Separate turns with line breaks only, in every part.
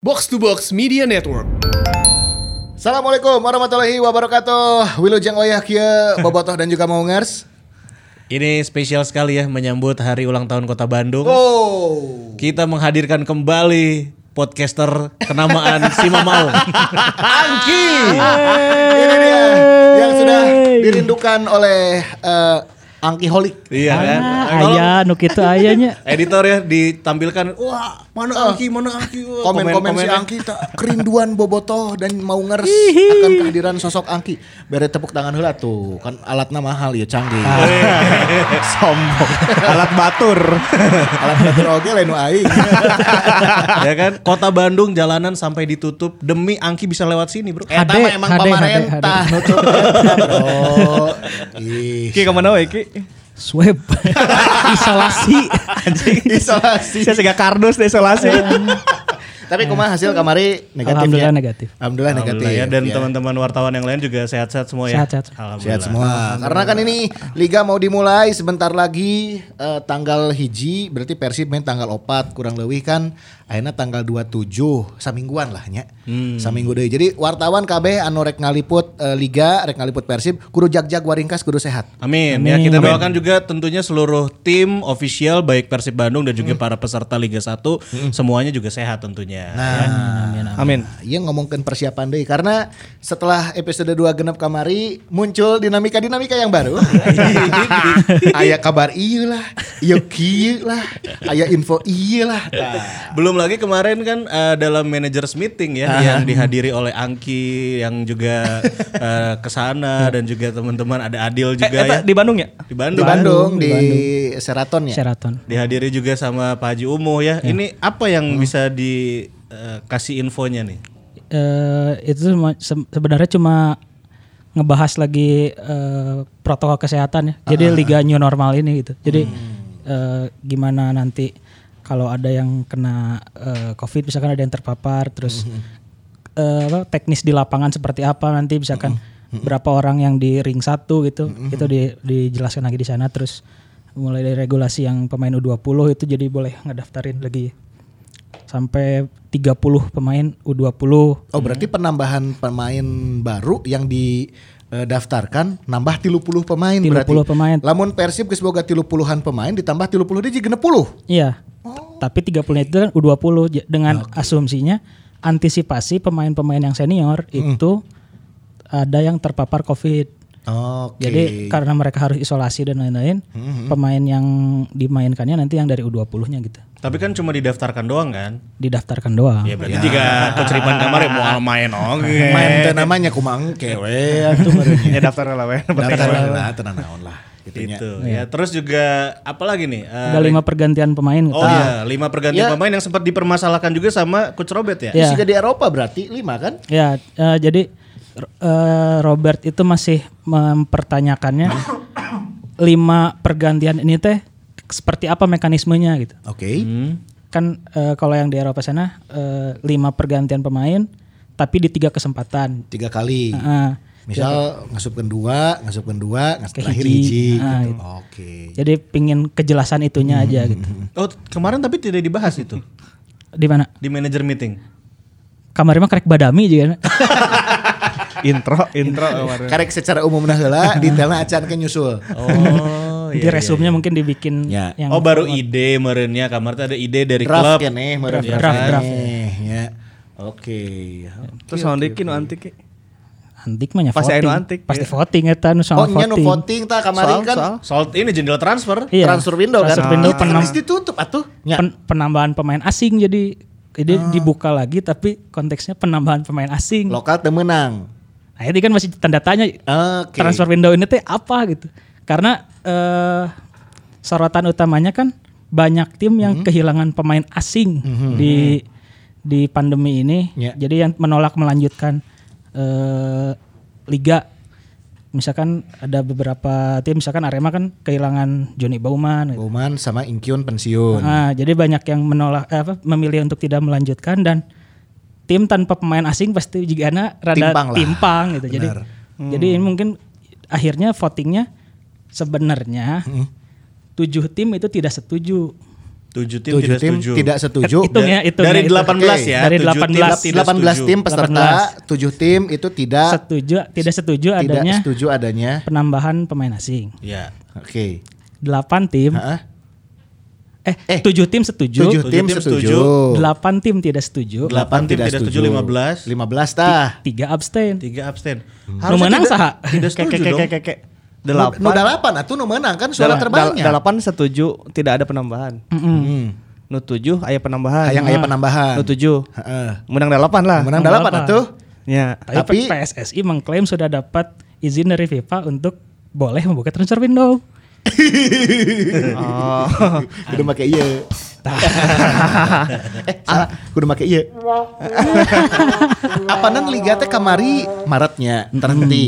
Box to Box Media Network.
Assalamualaikum warahmatullahi wabarakatuh. Wilujeng oyah kieu bobotoh dan juga maungers.
Ini spesial sekali ya menyambut hari ulang tahun Kota Bandung.
Oh.
Kita menghadirkan kembali podcaster kenamaan si Mama Aung.
Angki. Ini dia yang sudah dirindukan oleh eh, Angki Holik.
Iya kan?
Ah,
Tolong
ayah nu kitu ayahnya.
editor ya ditampilkan. Wah, mana Angki, mana Angki.
Komen-komen Eh,
Wah,
si
komen-komennya.
Angki tak kerinduan bobotoh dan maungers akan kehadiran sosok Angki. Bere tepuk tangan heula tuh. Kan alatnya mahal ya canggih.
Ah.
sombong alat batur
Alat batur oge lain nu aing.
ya kan? Kota Bandung jalanan sampai ditutup demi Angki bisa lewat sini, Bro. Eh,
Eta mah emang
HD,
pamarentah.
HD.
nutup eta, bro. Ih.
Ki kemana we Ki?
Swab. Isolasi.
Isolasi.
Saya sega kardus di isolasi
Eh,
Tapi kumaha hasil kamari negatif
Alhamdulillah
ya?
negatif.
Alhamdulillah negatif. Iya,
Alhamdulillah ya. Dan
Iya.
teman-teman wartawan yang lain juga sehat-sehat semua ya.
Sehat-sehat.
Alhamdulillah.
Sehat semua. Karena kan ini liga mau dimulai sebentar lagi eh, tanggal hiji berarti Persib main tanggal opat kurang lebih kan akhirnya tanggal 27 samingguan lah nya.
Hmm.
Saminggu deui. Jadi wartawan kabeh anu rek ngaliput eh, liga, rek ngaliput Persib kudu jag-jag waringkas kudu sehat.
Amin. Ya kita doakan juga tentunya seluruh tim official baik Persib Bandung dan juga para peserta Liga 1 semuanya juga sehat tentunya. Ya.
amin
Iya ngomongkan persiapan deh karena setelah episode 2 genep kamari muncul dinamika-dinamika yang baru. Aya kabar iya lah, iya kieu lah, aya info iya lah. Tah.
Belum lagi kemarin kan eh, dalam managers meeting ya yang dihadiri oleh Angki yang juga eh, kesana dan juga teman-teman ada Adil
Eh,
juga
eta
ya
di Bandung ya?
di Bandung.
Di Bandung, di, Sheraton ya.
Sheraton.
Dihadiri juga sama Pak Haji Umuh ya. Ini apa yang bisa dikasih infonya nih?
Eh, itu semua- se- sebenarnya cuma ngebahas lagi eh, protokol kesehatan ya. Jadi liga new normal ini gitu. Jadi eh, gimana nanti kalau ada yang kena eh, covid misalkan ada yang terpapar terus eh, apa, teknis di lapangan seperti apa nanti misalkan berapa orang yang di ring satu gitu. Itu di- dijelaskan lagi di sana terus mulai dari regulasi yang pemain U20 itu jadi boleh ngedaftarin lagi sampai 30 pemain U20
Oh berarti penambahan pemain baru yang di eh, daftarkan nambah 30 pemain
30
berarti.
pemain.
Lamun Persib geus boga 30-an pemain ditambah 30 dia jadi 60.
Iya. Tapi 30 itu kan U20 j- dengan asumsinya antisipasi pemain-pemain yang senior
Hmm.
itu ada yang terpapar Covid.
Oke.
Jadi karena mereka harus isolasi dan lain-lain,
Hmm.
pemain yang dimainkannya nanti yang dari U20-nya gitu.
Tapi kan cuma didaftarkan doang kan?
Didaftarkan doang.
Ya berarti jika keceripan kamar ya mau main oke.
main teh namanya kumang kewe atuh
ya daftar lah we
Daftar lah, tenang naon lah. Gitu nya.
Gitu ya. Terus juga apalagi nih? Eh,
Ada lima pergantian pemain gitu.
Oh iya, lima pergantian
Ya.
pemain yang sempat dipermasalahkan juga sama Coach Robert ya.
Iya.
Jika di Eropa berarti 5 kan?
Ya, eh, jadi r- eh, Robert itu masih mempertanyakannya lima pergantian ini teh seperti apa mekanismenya gitu.
Oke.
kan eh, kalau yang di Eropa sana eh, lima pergantian pemain tapi di tiga kesempatan
Tiga kali.
Heeh.
Misal ngasupkeun dua, ngasupkeun dua, ngas
Ke
terakhir
Ya. hiji.
hiji.
Ah,
gitu.
gitu.
Oke.
jadi pingin kejelasan itunya aja gitu
Oh, kemarin tapi tidak dibahas itu
di mana
di manager meeting.
kamarnya mah karek badami juga kan?
intro intro kemarin
Karek secara umum nah
Ah.
heula, detailna acan ke nyusul.
Oh,
di resumnya mungkin dibikin
Ya.
yang
oh baru ide merenya kamar teh ada ide dari klub.
draft kene meureun
Draft,
draft
draft.
kene, ya. Oke.
terus naon deui Ki nu antik Ki?
antik mah nya
Pasti
voting
anu antik,
pasti
iya.
voting eta
Oh,
nu soal
nya nu
voting
voting ta kemarin
Soal-
kan
soal.
Soal ini jendela transfer.
Iya.
transfer window kan.
Transfer window
Itu kan
penem-
harus ditutup atuh. Nya.
Pen- penambahan pemain asing jadi jadi
Ah.
dibuka lagi tapi konteksnya penambahan pemain asing
Lokal teu meunang.
nah ini kan masih tanda tanya
Oke.
transfer window ini teh apa gitu karena eh, sorotan utamanya kan banyak tim
Hmm.
yang kehilangan pemain asing di di pandemi ini
Ya.
jadi yang menolak melanjutkan eh, liga misalkan ada beberapa tim misalkan Arema kan kehilangan Joni Bauman gitu.
Bauman sama Inkyun pensiun.
Ah, jadi banyak yang menolak eh, apa memilih untuk tidak melanjutkan dan tim tanpa pemain asing pasti juga ana rada
Timpang
timpang,
lah.
gitu. Jadi jadi
Hmm.
ini mungkin akhirnya votingnya sebenarnya tujuh tim itu tidak setuju
Tujuh tim
Tujuh
tidak
tim
setuju.
tidak setuju.
Hitung ya, hitung
dari
ya, hitung.
18 ya.
Dari
tujuh tim
18.
tidak
18
setuju.
tim peserta, 7 tim itu tidak
setuju tidak setuju
tidak
adanya
setuju adanya.
penambahan pemain asing.
Ya.
Oke.
8 tim
Heeh.
eh,
Eh,
tujuh 7 tim setuju,
7 tim
tim
setuju.
8 tim tidak setuju,
Delapan tim tidak setuju, 15.
15 tah.
3 abstain.
Tiga abstain.
Nu menang
tidak-
saha?
Tidak setuju
Kek, kek,
dong.
kek, kek, kek.
Nu
Delapan.
dalapan atuh nu meunang kan suara
Dala-
terbanyak.
dal- Dalapan setuju tidak ada penambahan. Nu tujuh ayah penambahan.
Hayang Hmm. aya penambahan.
Nu tujuh.
Heeh.
Menang dalapan lah.
Menang
Menang
dalapan
dalapan.
atuh.
Ya.
Tapi,
Tapi-
PSSI mengklaim sudah dapat izin dari FIFA untuk boleh membuka transfer window.
Oh.
Kudu make ieu. eh, salah. Kudu make
iya.
ieu. Apanan liga teh kamari Maretnya
Hmm,
terhenti.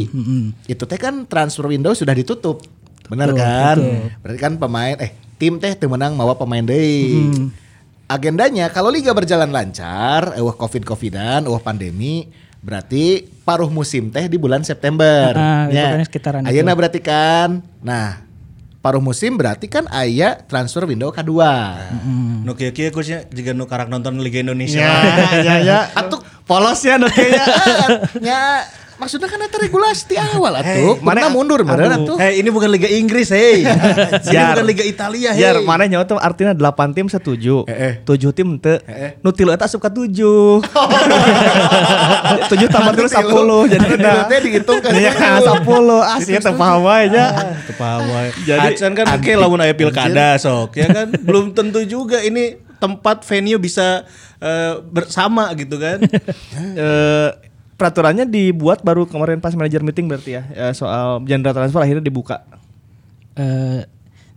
Itu teh kan transfer window sudah ditutup. Bener kan? Berarti kan pemain eh tim teh teu menang mawa pemain deui.
Hmm,
Agendanya kalau liga berjalan lancar, eueuh covid-covidan, eueuh pandemi, berarti paruh musim teh di bulan September.
Ah, itu
Ya.
kan sekitaran itu.
Ayeuna berarti kan. Nah, paruh musim berarti kan aya transfer window kedua.
Hmm,
Hmm.
Nu kieu-kieu kusnya jika nu karak nonton Liga Indonesia.
ya, ya.
Atuh
Polos ya nu kieu ya.
nya Eh, maksudnya kan eta regulasi di awal atuh.
Hey, mana-
mana mundur beneran atuh.
Hei, Eh, ini bukan Liga Inggris, hei. ini bukan Liga Italia, hei.
Jar, mana nyawa tuh artinya delapan tim setuju,
Eh, Oh. eh.
tujuh tim ente, nu tilu eta asup ka tujuh, tujuh tambah terus sepuluh, jadi
Tilu teh dihitung kan.
Iya kan sepuluh, asli teu paham wae
Ah.
aja.
Oh, Kepawai.
Jadi,
Jadi kan oke lamun aya pilkada sok ya kan belum tentu juga ini tempat venue bisa eh, bersama gitu kan.
Eh, peraturannya dibuat baru kemarin pas manajer meeting berarti ya, ya, soal jendela transfer akhirnya dibuka.
Eh,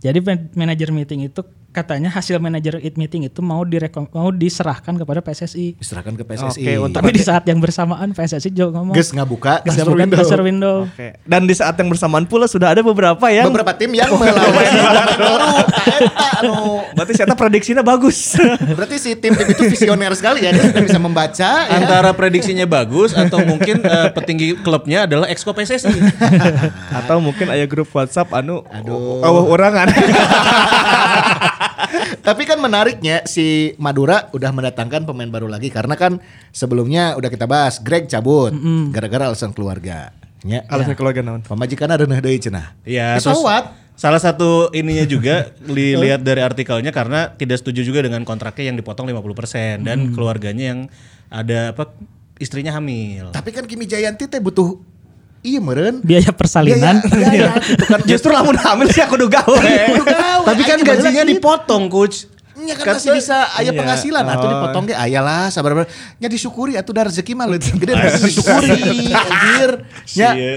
jadi man- manajer meeting itu katanya hasil manajer it meeting itu mau direkom mau diserahkan kepada PSSI.
Diserahkan ke PSSI.
Oke, untuk-
Tapi di saat yang bersamaan PSSI juga ngomong
Geus ngabuka
"Geus
transfer
ngabuka
window."
transfer window.
Oke. Dan di saat yang bersamaan pula sudah ada beberapa yang Oh, iya.
beberapa tim yang melawan baru eta anu.
berarti ternyata prediksinya bagus.
Berarti si tim tim itu visioner sekali ya, dia sudah bisa membaca ya.
Antara prediksinya bagus atau mungkin eh, petinggi klubnya adalah exco PSSI.
Atau mungkin ada grup WhatsApp anu Aduh. oh, orangan.
Tapi kan menariknya si Madura udah mendatangkan pemain baru lagi karena kan sebelumnya udah kita bahas Greg cabut gara-gara alasan keluarga. Ya.
Alasan Iya, keluarga naon?
Pamajikan ada nah deui cenah.
Ya,
So
terus
what?
Salah satu ininya juga dilihat dari artikelnya karena tidak setuju juga dengan kontraknya yang dipotong 50% dan keluarganya yang ada apa istrinya hamil.
Tapi kan Kimi Jayanti teh butuh iya meureun.
Biaya persalinan.
Biaya- Iya, biaya, gitu kan.
Justru lamun hamil sih aku duga
Kudu gawe,
Tapi kan
anjing,
gajinya
bener,
dipotong, coach.
Nya kan masih bisa aya penghasilan atuh dipotong ge aya lah sabar sabar. Nya disyukuri atuh da rezeki mah leutik gede harus disyukuri anjir. Nya
Iya.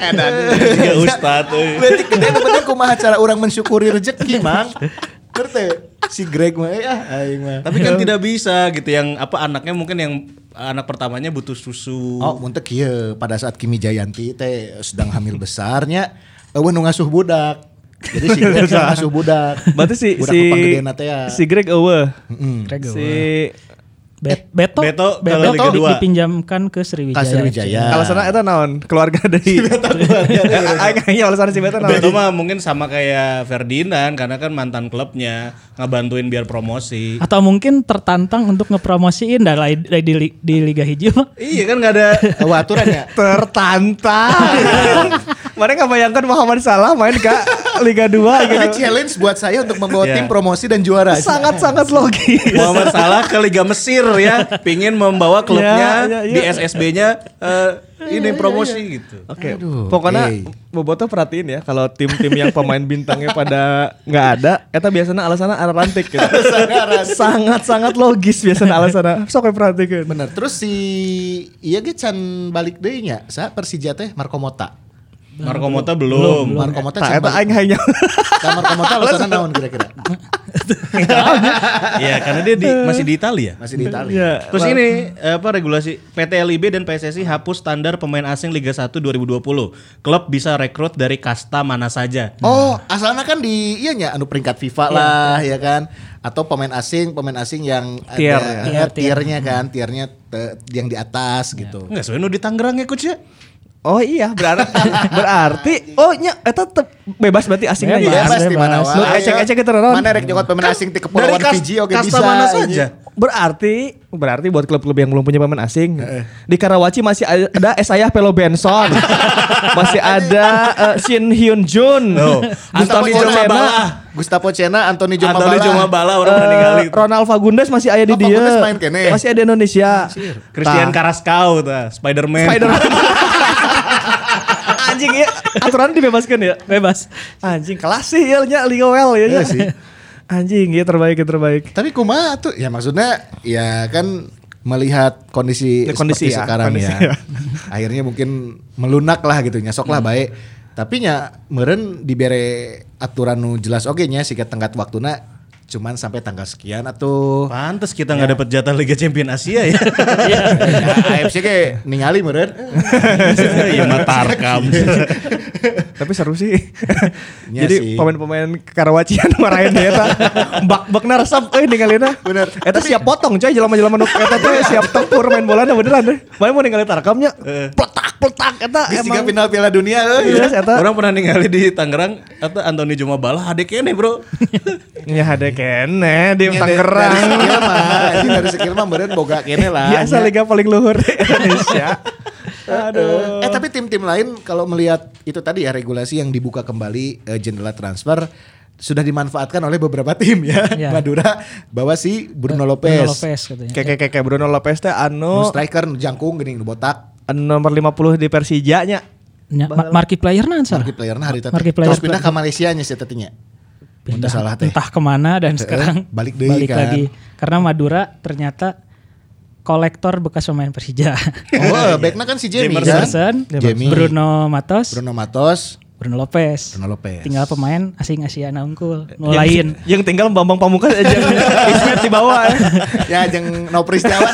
edan.
Ya ustad euy.
Leutik gede nu penting kumaha cara orang mensyukuri rezeki, Mang. Ngerti? Si Greg mah eh, ah aing mah.
Tapi kan tidak bisa gitu yang apa anaknya mungkin yang anak pertamanya butuh susu.
Oh, muntek ieu pada saat Kimi Jayanti teh sedang hamil besarnya eueuh nu ngasuh budak. Jadi si Greg teh ngasuh budak.
Berarti si
budak
si
pepanggedeuna teh ya.
si Greg Ewe.
Greg
Si
Bet- Beto,
Beto kalau Liga
di-
dua.
dipinjamkan ke Sriwijaya.
Kasir Wijaya.
alasannya itu naon? Keluarga dari Aing aing alasan si Beto
Beto
naon?
mah mungkin sama kayak Ferdinand karena kan mantan klubnya ngebantuin biar promosi.
Atau mungkin tertantang untuk ngepromosiin dan lain- lain di, li- di Liga Hijau. mah.
Iya kan nggak ada
Oh, aturan ya.
Tertantang. Mana nggak bayangkan Muhammad Salah main ke Liga 2
Ini
gitu.
challenge buat saya untuk membawa
Iya.
Ya.
tim promosi dan juara.
Sangat-sangat logis.
Muhammad Salah ke Liga Mesir ya, pingin membawa klubnya
Ya, ya, ya.
di SSB-nya eh, ini promosi gitu.
Oke,
Aduh,
pokoknya
eh.
Boboto perhatiin ya kalau tim-tim yang pemain bintangnya pada nggak ada, eta biasanya alasannya arantik gitu. Sangat-sangat logis biasanya alasannya. Sok Nah, we perhatikeun.
Bener. Terus si iya ge can balik deui nya sa Persija teh Marco Mota.
Marco Mota belum.
Marco Mota
Tah
can
eta aing
balik.
hayang.
Ka Marco Mota alasan naon kira-kira?
Iya, karena dia di- masih di Italia.
Masih di Italia.
Ya,
Terus ini apa regulasi PT LIB dan PSSI hapus standar pemain asing Liga 1 2020. Klub bisa rekrut dari kasta mana saja.
Oh, asalna kan di iya nya anu peringkat FIFA lah ya kan atau pemain asing, pemain asing yang
Tier,
ada,
ya.
eh, tiernya kan, tiernya te- yang di atas gitu.
Enggak sesuai nu di Tangerang ya coach ya.
Oh iya, berarti berarti oh nya eta tep- bebas berarti asingnya
Bebas,
ya.
Bebas di mana
bebas.
wae.
Lu gitu, ecek-ecek kita naon?
Mana rek nyokot pemain asing di
Dari
kepulauan
kas,
Fiji oke bisa.
Kastamonu
anjing.
saja.
Iya. Berarti berarti buat klub-klub yang belum punya pemain asing di Karawaci masih a- ada Esayah Pelo Benson, masih ada eh, Shin Hyun Jun,
Oh.
Gustavo
Gustavo
Cena,
Jomabala,
Gustavo Cena, Antoni Jomabala.
Antoni Joma Bala orang meninggal itu.
Eh, Ronald Fagundes masih ada di
Oh,
dia,
Fagundes main kene.
masih ada Indonesia, Nah.
Christian Carrasco tah, Spider-Man.
Spider-Man. Anjing ya, aturan dibebaskan ya.
Bebas.
Anjing kelas sih ya nya Liga Well ya. nya.
Iya sih.
Anjing ya terbaik ya terbaik.
Tapi kumaha tuh? Ya maksudnya ya kan melihat kondisi,
Ya, kondisi
seperti
ya,
sekarang
kondisi
ya.
ya. Hmm.
Akhirnya mungkin melunak lah gitu nya, sok lah baik. Tapi nya meureun dibere aturan nu jelas oge nya sikat tenggat waktuna cuman sampai tanggal sekian Nah, atau
Pantes kita nggak dapat jatah Liga Champion Asia ya.
AFC ke ningali meureun.
ya matarkam.
Tapi seru sih.
Iya
Jadi
sih.
pemain-pemain Karawacian marahin dia ya, eta. Bak-bakna resep euy ninggalina.
Bener.
eh,
Iya.
Eta siap potong coy jelema-jelema nu eta tuh siap tempur main bola nah beneran deh. Mana mau ninggalin tarkamnya. Pletak-pletak eta
Eh, Di
emang.
siga final Piala Dunia euy.
Yes, eta.
Orang pernah ningali di Tangerang atau Antoni Joma Bala adek kene bro.
Ya ada kene
Ya,
di
dari- Dari
Tangerang.
sekil mah, ini dari sekil mah meureun boga kene lah.
Biasa
nya.
liga Iya, paling luhur di Indonesia. Aduh.
Eh tapi tim-tim lain kalau melihat itu tadi ya regulasi yang dibuka kembali eh, jendela transfer sudah dimanfaatkan oleh beberapa tim ya.
Iya.
Madura bawa si Bruno Lopez.
Bruno Lopez Oh. katanya.
Kayak kayak kayak Bruno Lopez teh
Nu
anu
striker nu jangkung geuning nu botak.
nomor 50 di Persija nya.
Nya, ma- market player nanti salah.
Market player hari tadi.
Market player.
Terus pindah ke Malaysia nya si tatinya. Pindah salah teh.
entah kemana dan sekarang
Eh, balik deui kan.
lagi karena Madura ternyata kolektor bekas pemain Persija.
Oh, backnya kan si Jamie kan?
Iya. Jamerson,
Jamie.
Bruno Matos, Bruno,
Bruno Matos.
Lopez.
Bruno Lopez. Eh,
Tinggal pemain asing Asia Unggul, lain.
Yang tinggal Bambang Pamungkas aja Ismet di bawah. eh.
ya jeung Nopri Setiawan.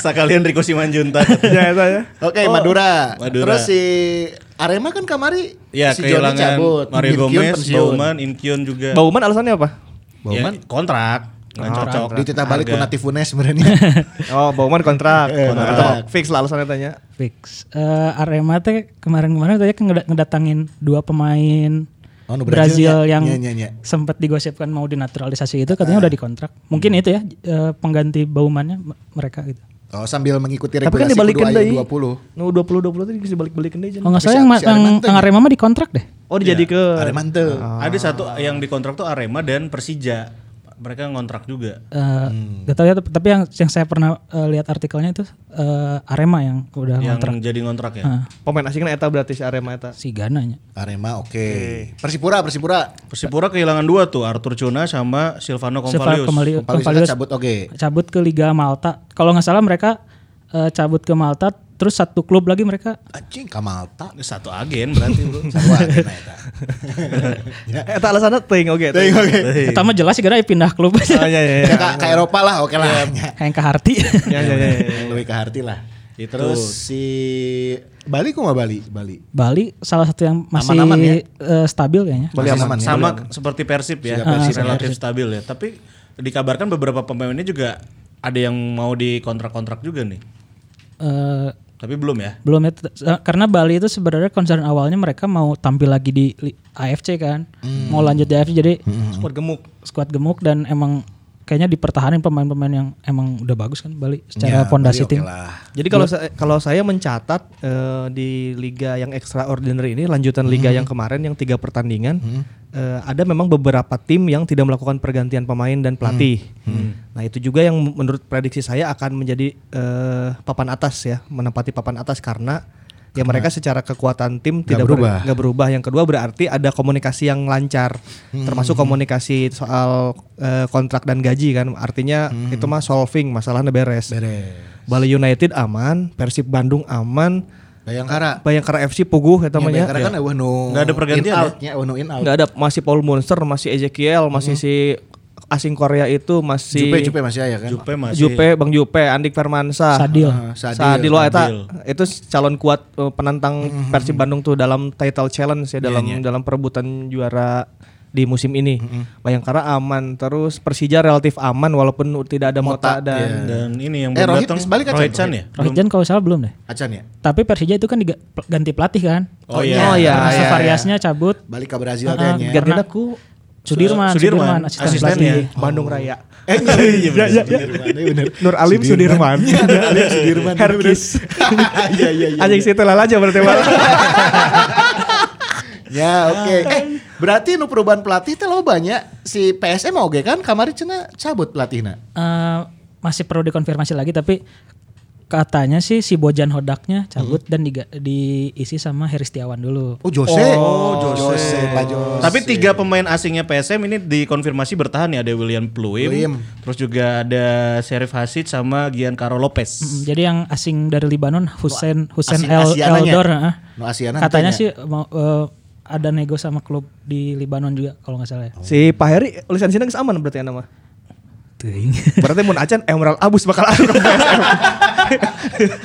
Sekalian Riko Simanjunta.
Ya itu ya.
Oke,
Oh.
Madura.
Madura.
Terus si Arema kan kamari
Ya
si Johnny
kehilangan
cabut,
Mario
Birkiun
Gomez,
pensiun.
Bauman, Inkyun juga.
Iya.
Bauman alasannya apa?
Bauman Ya, Ah, kontrak. Nggak cocok.
Dititah balik ku
Harga.
Natif Funes sebenarnya.
Oh, Bauman kontrak.
Eh,
Kontrak.
kontrak.
Fix lah alasannya tanya.
Fix. Eh, Arema teh kemarin-kemarin tadi kan ngeda- ngedatangin dua pemain
Oh, nu
Brazil,
Brazil ya?
yang
Iya, iya, iya.
sempat digosipkan mau dinaturalisasi itu
Ah.
katanya udah dikontrak. Mungkin
Hmm.
itu ya eh, pengganti Baumannya m- mereka gitu.
Oh sambil mengikuti
Tapi kan
regulasi
dibalikin
kedua
deui.
ayat 20.
No 20 20 tadi bisa balik-balikin deui.
Kalau nggak
Tapi
salah
si-
yang, ma-
si
yang,
Arema tuh
yang
ya?
Arema mah dikontrak deh.
Oh, dijadi ke
Ada mantel.
Ada satu yang dikontrak tuh Arema dan Persija. Mereka ngontrak juga.
Eh, Gak tau ya, tep- tapi yang yang saya pernah eh, lihat artikelnya itu eh, Arema yang udah
yang
kontrak
jadi ngontrak ya.
pemain asingnya eta berarti si Arema eta.
si Gananya.
Arema oke. Persipura Persipura.
Persipura kehilangan dua tuh, Arthur Cuna sama Silvano Convalius.
kembali
Paling cabut oke.
cabut ke Liga Malta. Kalau nggak salah mereka eh, cabut ke Malta, terus satu klub lagi mereka
Anjing Kamalta.
Eh, Satu agen berarti bro.
Sarua akhirnya eta. Iya.
Eta alasannya teuing oge. teuing.
pertama Eh, jelas sih karena ya pindah klub.
Oh, iya, iya, iya.
Ya ka, ka Eropa lah oke lah. Ya.
Kayak ke Harti.
Ya, ya, ya, ya.
Yang lebih ke hati lah.
Itu.
Terus si Bali kok nggak Bali? Bali.
Bali salah satu yang masih
Aman-aman ya?
eh, stabil kayaknya.
Bali
Masih
aman ya?
sama seperti Persib ya, relatif stabil ya. Tapi dikabarkan beberapa pemainnya juga ada yang mau dikontrak-kontrak juga nih.
Eh,
Tapi belum ya.
belum ya tet- eh, karena Bali itu sebenarnya concern awalnya mereka mau tampil lagi di li- AFC kan. Mau lanjut di AFC jadi
Sport gemuk.
skuad gemuk dan emang kayaknya dipertahanin pemain-pemain yang emang udah bagus kan Bali secara
Ya,
fondasi
Bali oke
tim.
lah.
Jadi kalau sa- kalau saya mencatat eh, di liga yang extraordinary ini lanjutan liga yang kemarin yang tiga pertandingan eh, ada memang beberapa tim yang tidak melakukan pergantian pemain dan pelatih. Nah itu juga yang menurut prediksi saya akan menjadi eh, papan atas ya menempati papan atas karena ya mereka secara kekuatan tim tidak ber-
berubah.
nggak berubah. Yang kedua berarti ada komunikasi yang lancar, termasuk komunikasi soal eh, kontrak dan gaji kan. Artinya itu mah solving masalahnya beres.
Beres.
Bali United aman, Persib Bandung aman,
Bayangkara.
Bayangkara FC puguh ya
Namanya
namanya.
kan eueuh nu
Nggak ada
in
pergantian ya?
out nya, eueuh nu in out.
Enggak ada masih Paul Monster, masih Ezekiel, masih si asing Korea itu masih
Jupe Jupe masih aya kan?
Jupe masih
Jupe, Bang Jupe, Andik Firmansyah.
Sadil.
Ah, Sadil.
Sadil loh, eta
Sadil. Hmm,
itu calon kuat
Iya,
eh, penantang Persib Bandung tuh dalam title challenge ya dalam dalam perebutan juara di musim ini.
Hmm,
Bayangkara aman terus Persija relatif aman walaupun tidak ada Mota,
Mota,
dan
Dan ini yang
Eh,
belum
Rohit
datang
Isbali kan
Rohit
cabut,
Chan
Rohit.
ya?
Rohijan kalau salah belum deh.
Acan ya?
Tapi Persija itu kan diga- ganti pelatih kan.
Oh iya.
Oh, iya.
Karena
iya,
Savariasnya cabut.
Balik ke Brazil
Heeh,
Ya, kayaknya.
Ganti-
karena
aku
Sudirman,
Sudirman, Sudirman, asisten
asistennya.
pelatih.
Bandung Raya.
Eh, iya, iya, bener, Sudirman, iya, bener.
Nur Alim Sudirman. Iya,
Nur Alim Sudirman.
Herkis.
Iya, iya, iya.
Anjing situ lah aja berarti Pak.
Ya, oke. Eh, berarti nu perubahan pelatih teh lo banyak. Si PSM oge kan kamari cenah cabut pelatihna.
Eh, masih perlu dikonfirmasi lagi tapi katanya sih si Bojan Hodaknya cabut
Hmm.
dan diga- diisi sama Heri Setiawan dulu.
Oh, Jose. Oh, Jose. Pak Jose.
Tapi tiga pemain asingnya PSM ini dikonfirmasi bertahan ya ada William Pluim,
Pluim.
terus juga ada Serif Hasid sama Giancarlo Lopez.
Mm, Jadi yang asing dari Libanon Hussein Hussein
asing
El
Asiananya.
Eldor heeh.
Nu Asiana tanya.
Katanya sih mau eh, ada nego sama klub di Libanon juga kalau nggak salah ya.
Si Pak Heri lisensinya geus aman berarti nama. Berarti mun acan Emerald Abus bakal anu ke PSM.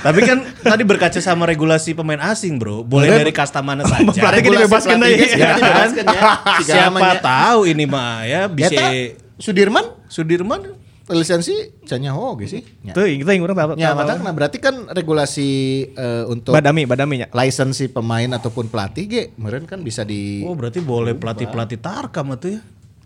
Tapi kan tadi berkaca sama regulasi pemain asing, Bro. Boleh dari kasta mana saja.
Berarti kan
Regulasi
dibebaskan
pelatih
deh.
guys,
Berarti
ya kan?
dibebaskan ya. Tiga
Siapa
namanya.
tahu ini mah ya bisa
Eta, Sudirman
Sudirman
lisensi cenah oge sih. Nya.
Tuh, kita yang urang tahu.
Ya,
tahu.
matang. Nah, berarti kan regulasi eh, untuk
Badami, badaminya.
lisensi pemain ataupun pelatih ge meureun kan bisa di
Oh berarti boleh pelatih-pelatih Tarkam itu ya?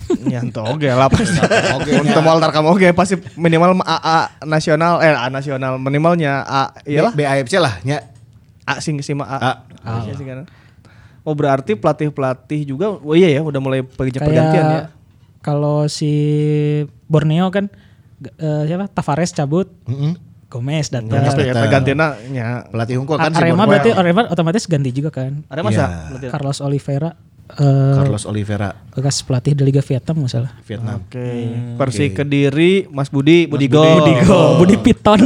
Nyanto oge lah pasti.
Oge,
Oke.
nya.
Untuk mau tarkam oge pasti minimal AA nasional eh A nasional minimalnya A iyalah
B- BAFC lah nya.
A sing sing mah A.
A.
Iya sih kan. Oh berarti pelatih-pelatih juga oh iya ya udah mulai pergi- pergantian ya.
Kayak kalau si Borneo kan g- eh, siapa Tavares cabut,
Mm-mm.
Gomez
Ya,
datang.
Hmm. Gomez. betul.
pergantiannya ya.
Pelatih Hungkul kan si
Arema
Borneo.
berarti Arema otomatis ganti juga kan.
Ada masa? Berarti- ya.
Carlos Oliveira eh,
Carlos Oliveira
bekas pelatih di Liga Vietnam misalnya.
Vietnam.
Oke.
Hmm.
Persi Kediri, Mas Budi, Budi Gol. Oh, Budi
Oh, Budi Piton.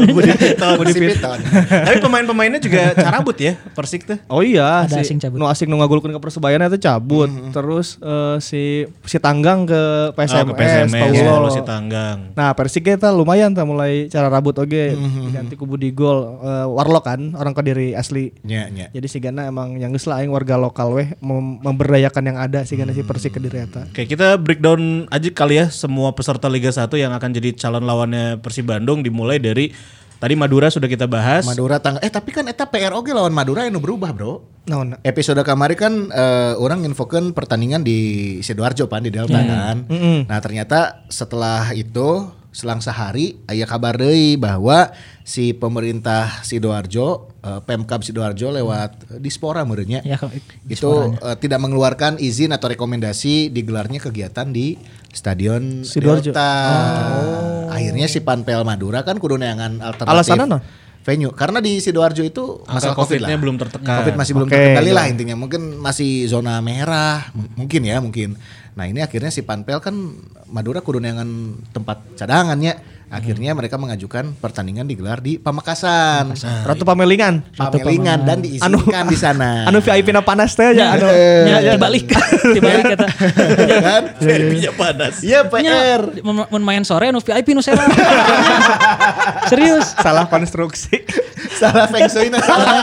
Si Piton.
Tapi pemain-pemainnya juga carabut ya Persik tuh.
Oh iya,
Ada
si,
asing cabut.
Nu asing nu ngagulkeun ke Persebaya itu cabut. Terus eh, si si Tanggang ke
Oh,
PSMS,
ke PSMS,
Paulo.
Paulo si Tanggang.
Nah, Persik kita lumayan tuh mulai cara rabut oge ganti ku Budi Gol Eh, Warlock kan orang Kediri asli.
Nya, nya.
Jadi si Gana emang yang geus lah aing warga lokal weh mem- memberdayakan yang ada si Gana si Persik Kediri eta.
Oke, kita breakdown aja kali ya semua peserta Liga 1 yang akan jadi calon lawannya Persib Bandung dimulai dari tadi Madura sudah kita bahas.
Madura tanggal eh tapi kan eta PROG lawan Madura anu berubah, Bro.
Naon?
Episode kemarin kan eh, orang infokan pertandingan di Sidoarjo pan di Delta kan. Nah, ternyata setelah itu selang sehari aya kabar deui bahwa si pemerintah Sidoarjo eh, Pemkab Sidoarjo lewat eh, Dispora meureunnya
Ya, kalau-
itu eh, tidak mengeluarkan izin atau rekomendasi digelarnya kegiatan di Stadion
Sidoarjo.
Delta. Akhirnya si Panpel Madura kan kudu neangan alternatif.
Alasannya nah?
Venue karena di Sidoarjo itu
Angka
masalah COVID
COVID-nya
lah.
belum tertekan.
COVID masih belum
Oke,
terkendali
iya.
lah intinya. Mungkin masih zona merah, M- mungkin ya, mungkin. Nah, ini akhirnya si Panpel kan Madura kudu neangan tempat cadangannya. Akhirnya mereka mengajukan pertandingan digelar di Pamekasan.
Ratu Pamelingan.
Pamelingan dan diizinkan di sana.
Anu VIP na panas teh aja anu.
Ya, dibalik. Dibalik kata.
kan?
Derbynya Iya, panas.
Iya,
Nya,
PR.
mun- mun main sore nu VIP nu sewa. Serius.
Salah konstruksi.
salah feng shui nah, salah.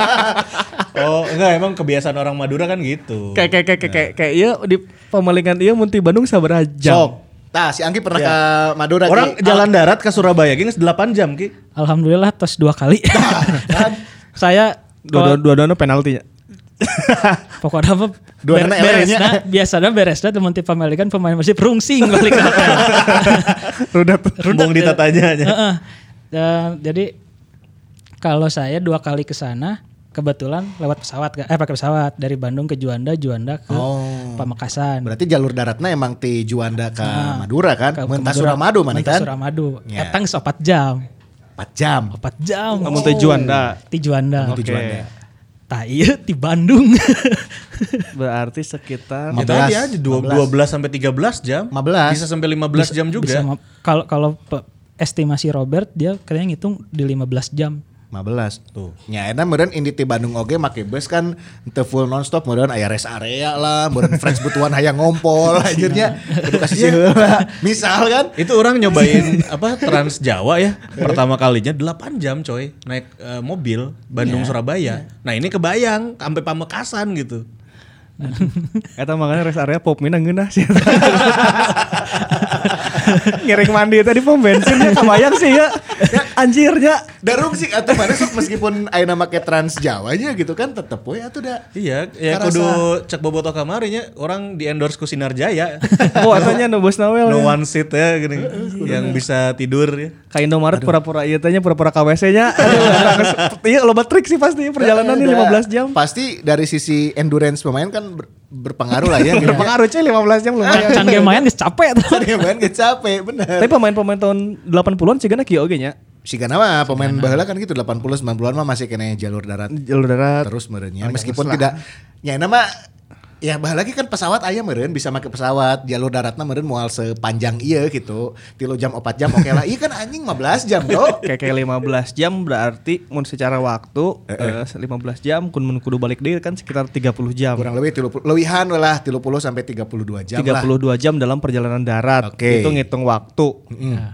Oh, enggak emang kebiasaan orang Madura kan gitu.
kayak kayak
Nah.
kayak kayak kayak kayak iya di pemalingan iya munti Bandung sabaraha
Sok.
jam.
Tah, Nah, si Anggi pernah ke Madura
Orang
Ki.
jalan darat ke Surabaya gengs 8 jam Ki.
Alhamdulillah tos dua kali.
Kan?
Saya
Dua dua dua penaltinya.
pokoknya apa
Dua anak
beresnya
LR -nya.
biasanya beresnya teman tipe pemilikan pemain masih perungsing balik ke hotel.
Rudat.
Bong
ya.
ditatanya
Iya.
aja.
Heeh. Dan jadi kalau saya dua kali ke sana kebetulan lewat pesawat Kak. eh pakai pesawat dari Bandung ke Juanda, Juanda ke
Oh.
Pamekasan.
berarti jalur daratnya emang ti Juanda ke Madura kan
Ke- ke
mentah
Madura.
Suramadu mana
Mentah
kan
Suramadu.
Ya.
Datang seopat jam.
4 jam
Opat jam.
Kamu teh Juanda.
Di Juanda.
Ti Juanda
Tah iya di Bandung.
Berarti sekitar
Ya tadi aja dua- 12 sampai 13 jam.
15.
Bisa sampai 15 jam
Bisa
juga.
ma- kalau kalau pe- estimasi Robert dia kayaknya ngitung di 15 jam.
15 tuh. Ya enak meureun indi ti Bandung oge make bus kan teu full nonstop meureun aya rest area lah, meureun fresh butuhan hayang ngompol anjirnya.
Iya.
Kudu kasih siheula. Misal kan
Itu orang nyobain apa Trans Jawa ya. Pertama kalinya 8 jam coy Iya. naik eh, mobil Bandung Surabaya. Nah, ini kebayang sampai Pamekasan gitu.
Eta makanya rest area pop mina ngeunah sih. Ngiring mandi tadi pom bensinnya kebayang sih ya. Anjirnya.
Darung sih atau mana sok meskipun ayeuna make Trans Jawa aja gitu kan tetep we atuh da.
Iya, ya
Karasa.
kudu cek bobotoh kamarinya orang di endorse ku Sinar Jaya.
Oh, atanya nu bos Noel.
no
ya.
one seat ya gini yang bisa tidur ya.
Ka Indomaret pura-pura iya tanya pura-pura KWC-nya. Iya loba trik sih pasti perjalanan ini
Da,
15 jam.
Pasti dari sisi endurance pemain kan ber- berpengaruh lah ya.
Berpengaruh cuy 15 jam
Ah,
lumayan.
iya,
Can ge main geus capek tuh.
Dia main gak capek bener.
Tapi pemain-pemain tahun 80-an sih gana kieu oge nya.
Si Gana mah pemain baheula kan gitu 80 90-an mah masih kena jalur darat
Jalur darat.
terus
Oh,
merenya meskipun tidak ya nama ya bah lagi kan pesawat aya meren bisa make pesawat jalur daratna meren moal sepanjang iya gitu tilu jam opat jam oke lah iya kan anjing 15 jam bro
Kayak kayak 15 jam berarti mun secara waktu eh, 15 jam kun mun kudu balik deui kan sekitar 30 jam.
kurang lebih 30 lewihan we lah 30 sampai 32 jam lah
32 jam dalam perjalanan darat.
Oke.
Itu ngitung waktu.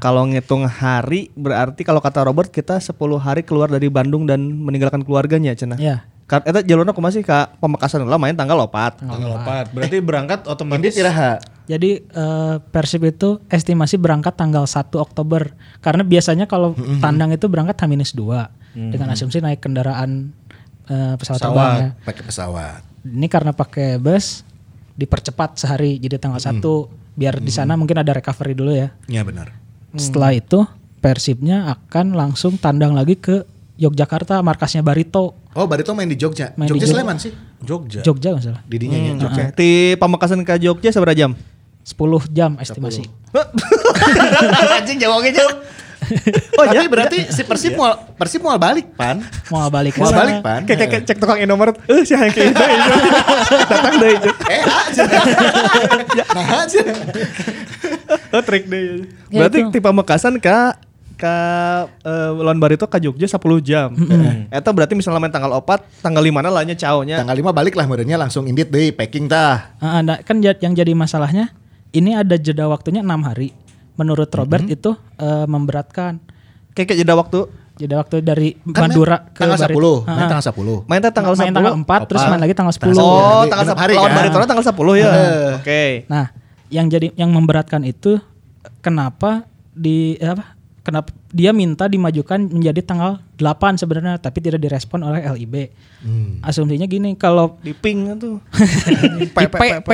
Kalau ngitung hari berarti kalau kata Robert kita 10 hari keluar dari Bandung dan meninggalkan keluarganya, Cenah.
Iya.
Ka- Eta jalurnya aku masih ke Pemekasan lah main tanggal opat.
Tanggal opat. Berarti berangkat otomatis
Iraha
Jadi eh, Persib itu estimasi berangkat tanggal 1 Oktober karena biasanya kalau
Mm-hmm.
tandang itu berangkat H-2 dengan asumsi naik kendaraan eh, pesawat, terbang ya.
pakai pesawat
Ini karena pakai bus dipercepat sehari jadi tanggal
Mm-hmm.
1 biar di sana mungkin ada recovery dulu ya.
ya benar
Mm-hmm.
Setelah itu Persibnya akan langsung tandang lagi ke Yogyakarta markasnya Barito
oh Barito main di Jogja
Main di
Jogja
Jogja. Hmm.
Sleman sih
Jogja.
Jogja misalnya
didinya ya, nya.
Oke. Di Pamekasan ke Jogja seberapa jam?
10 jam estimasi.
anjing jawabnya jawab oh,
iya?
tapi berarti si Persib mau Persib mau balik pan
Mau balik ke
mau
sana.
balik pan
Kayak kayak Eh, cek tukang Indomaret, eh sih yang kayak itu. Datang deh itu.
eh aja nah aja
Oh, trik deh.
Ya,
Berarti
itu.
tipe Pamekasan ke ke eh, Lawan Barito ke Jogja 10 jam. Eh, Eta berarti misalnya main tanggal opat, tanggal 5 lah nya caonya.
Ya.
tanggal 5 balik lah merenya langsung indit deh packing tah
Ah, ah, nah, kan ja- yang jadi masalahnya ini ada jeda waktunya enam hari. Menurut Robert
Mm-hmm.
itu eh, memberatkan
Kayak kayak jeda waktu
jeda waktu dari
Kan
Mandura
main
ke
tanggal 10
Barito. Ah,
main
ah.
tanggal 10
main teh tanggal 10.
main tanggal 4 terus main lagi tanggal 10.
Oh,
Nanti
tanggal
genep
10.
hari
Lawan
kan?
Barito tanggal 10 ya. Oke.
Nah, yang jadi yang memberatkan itu kenapa di eh, apa? Kenapa dia minta dimajukan menjadi tanggal 8 sebenarnya tapi tidak direspon oleh LIB. Asumsinya gini, kalau
Di ping tuh.
Di P, P.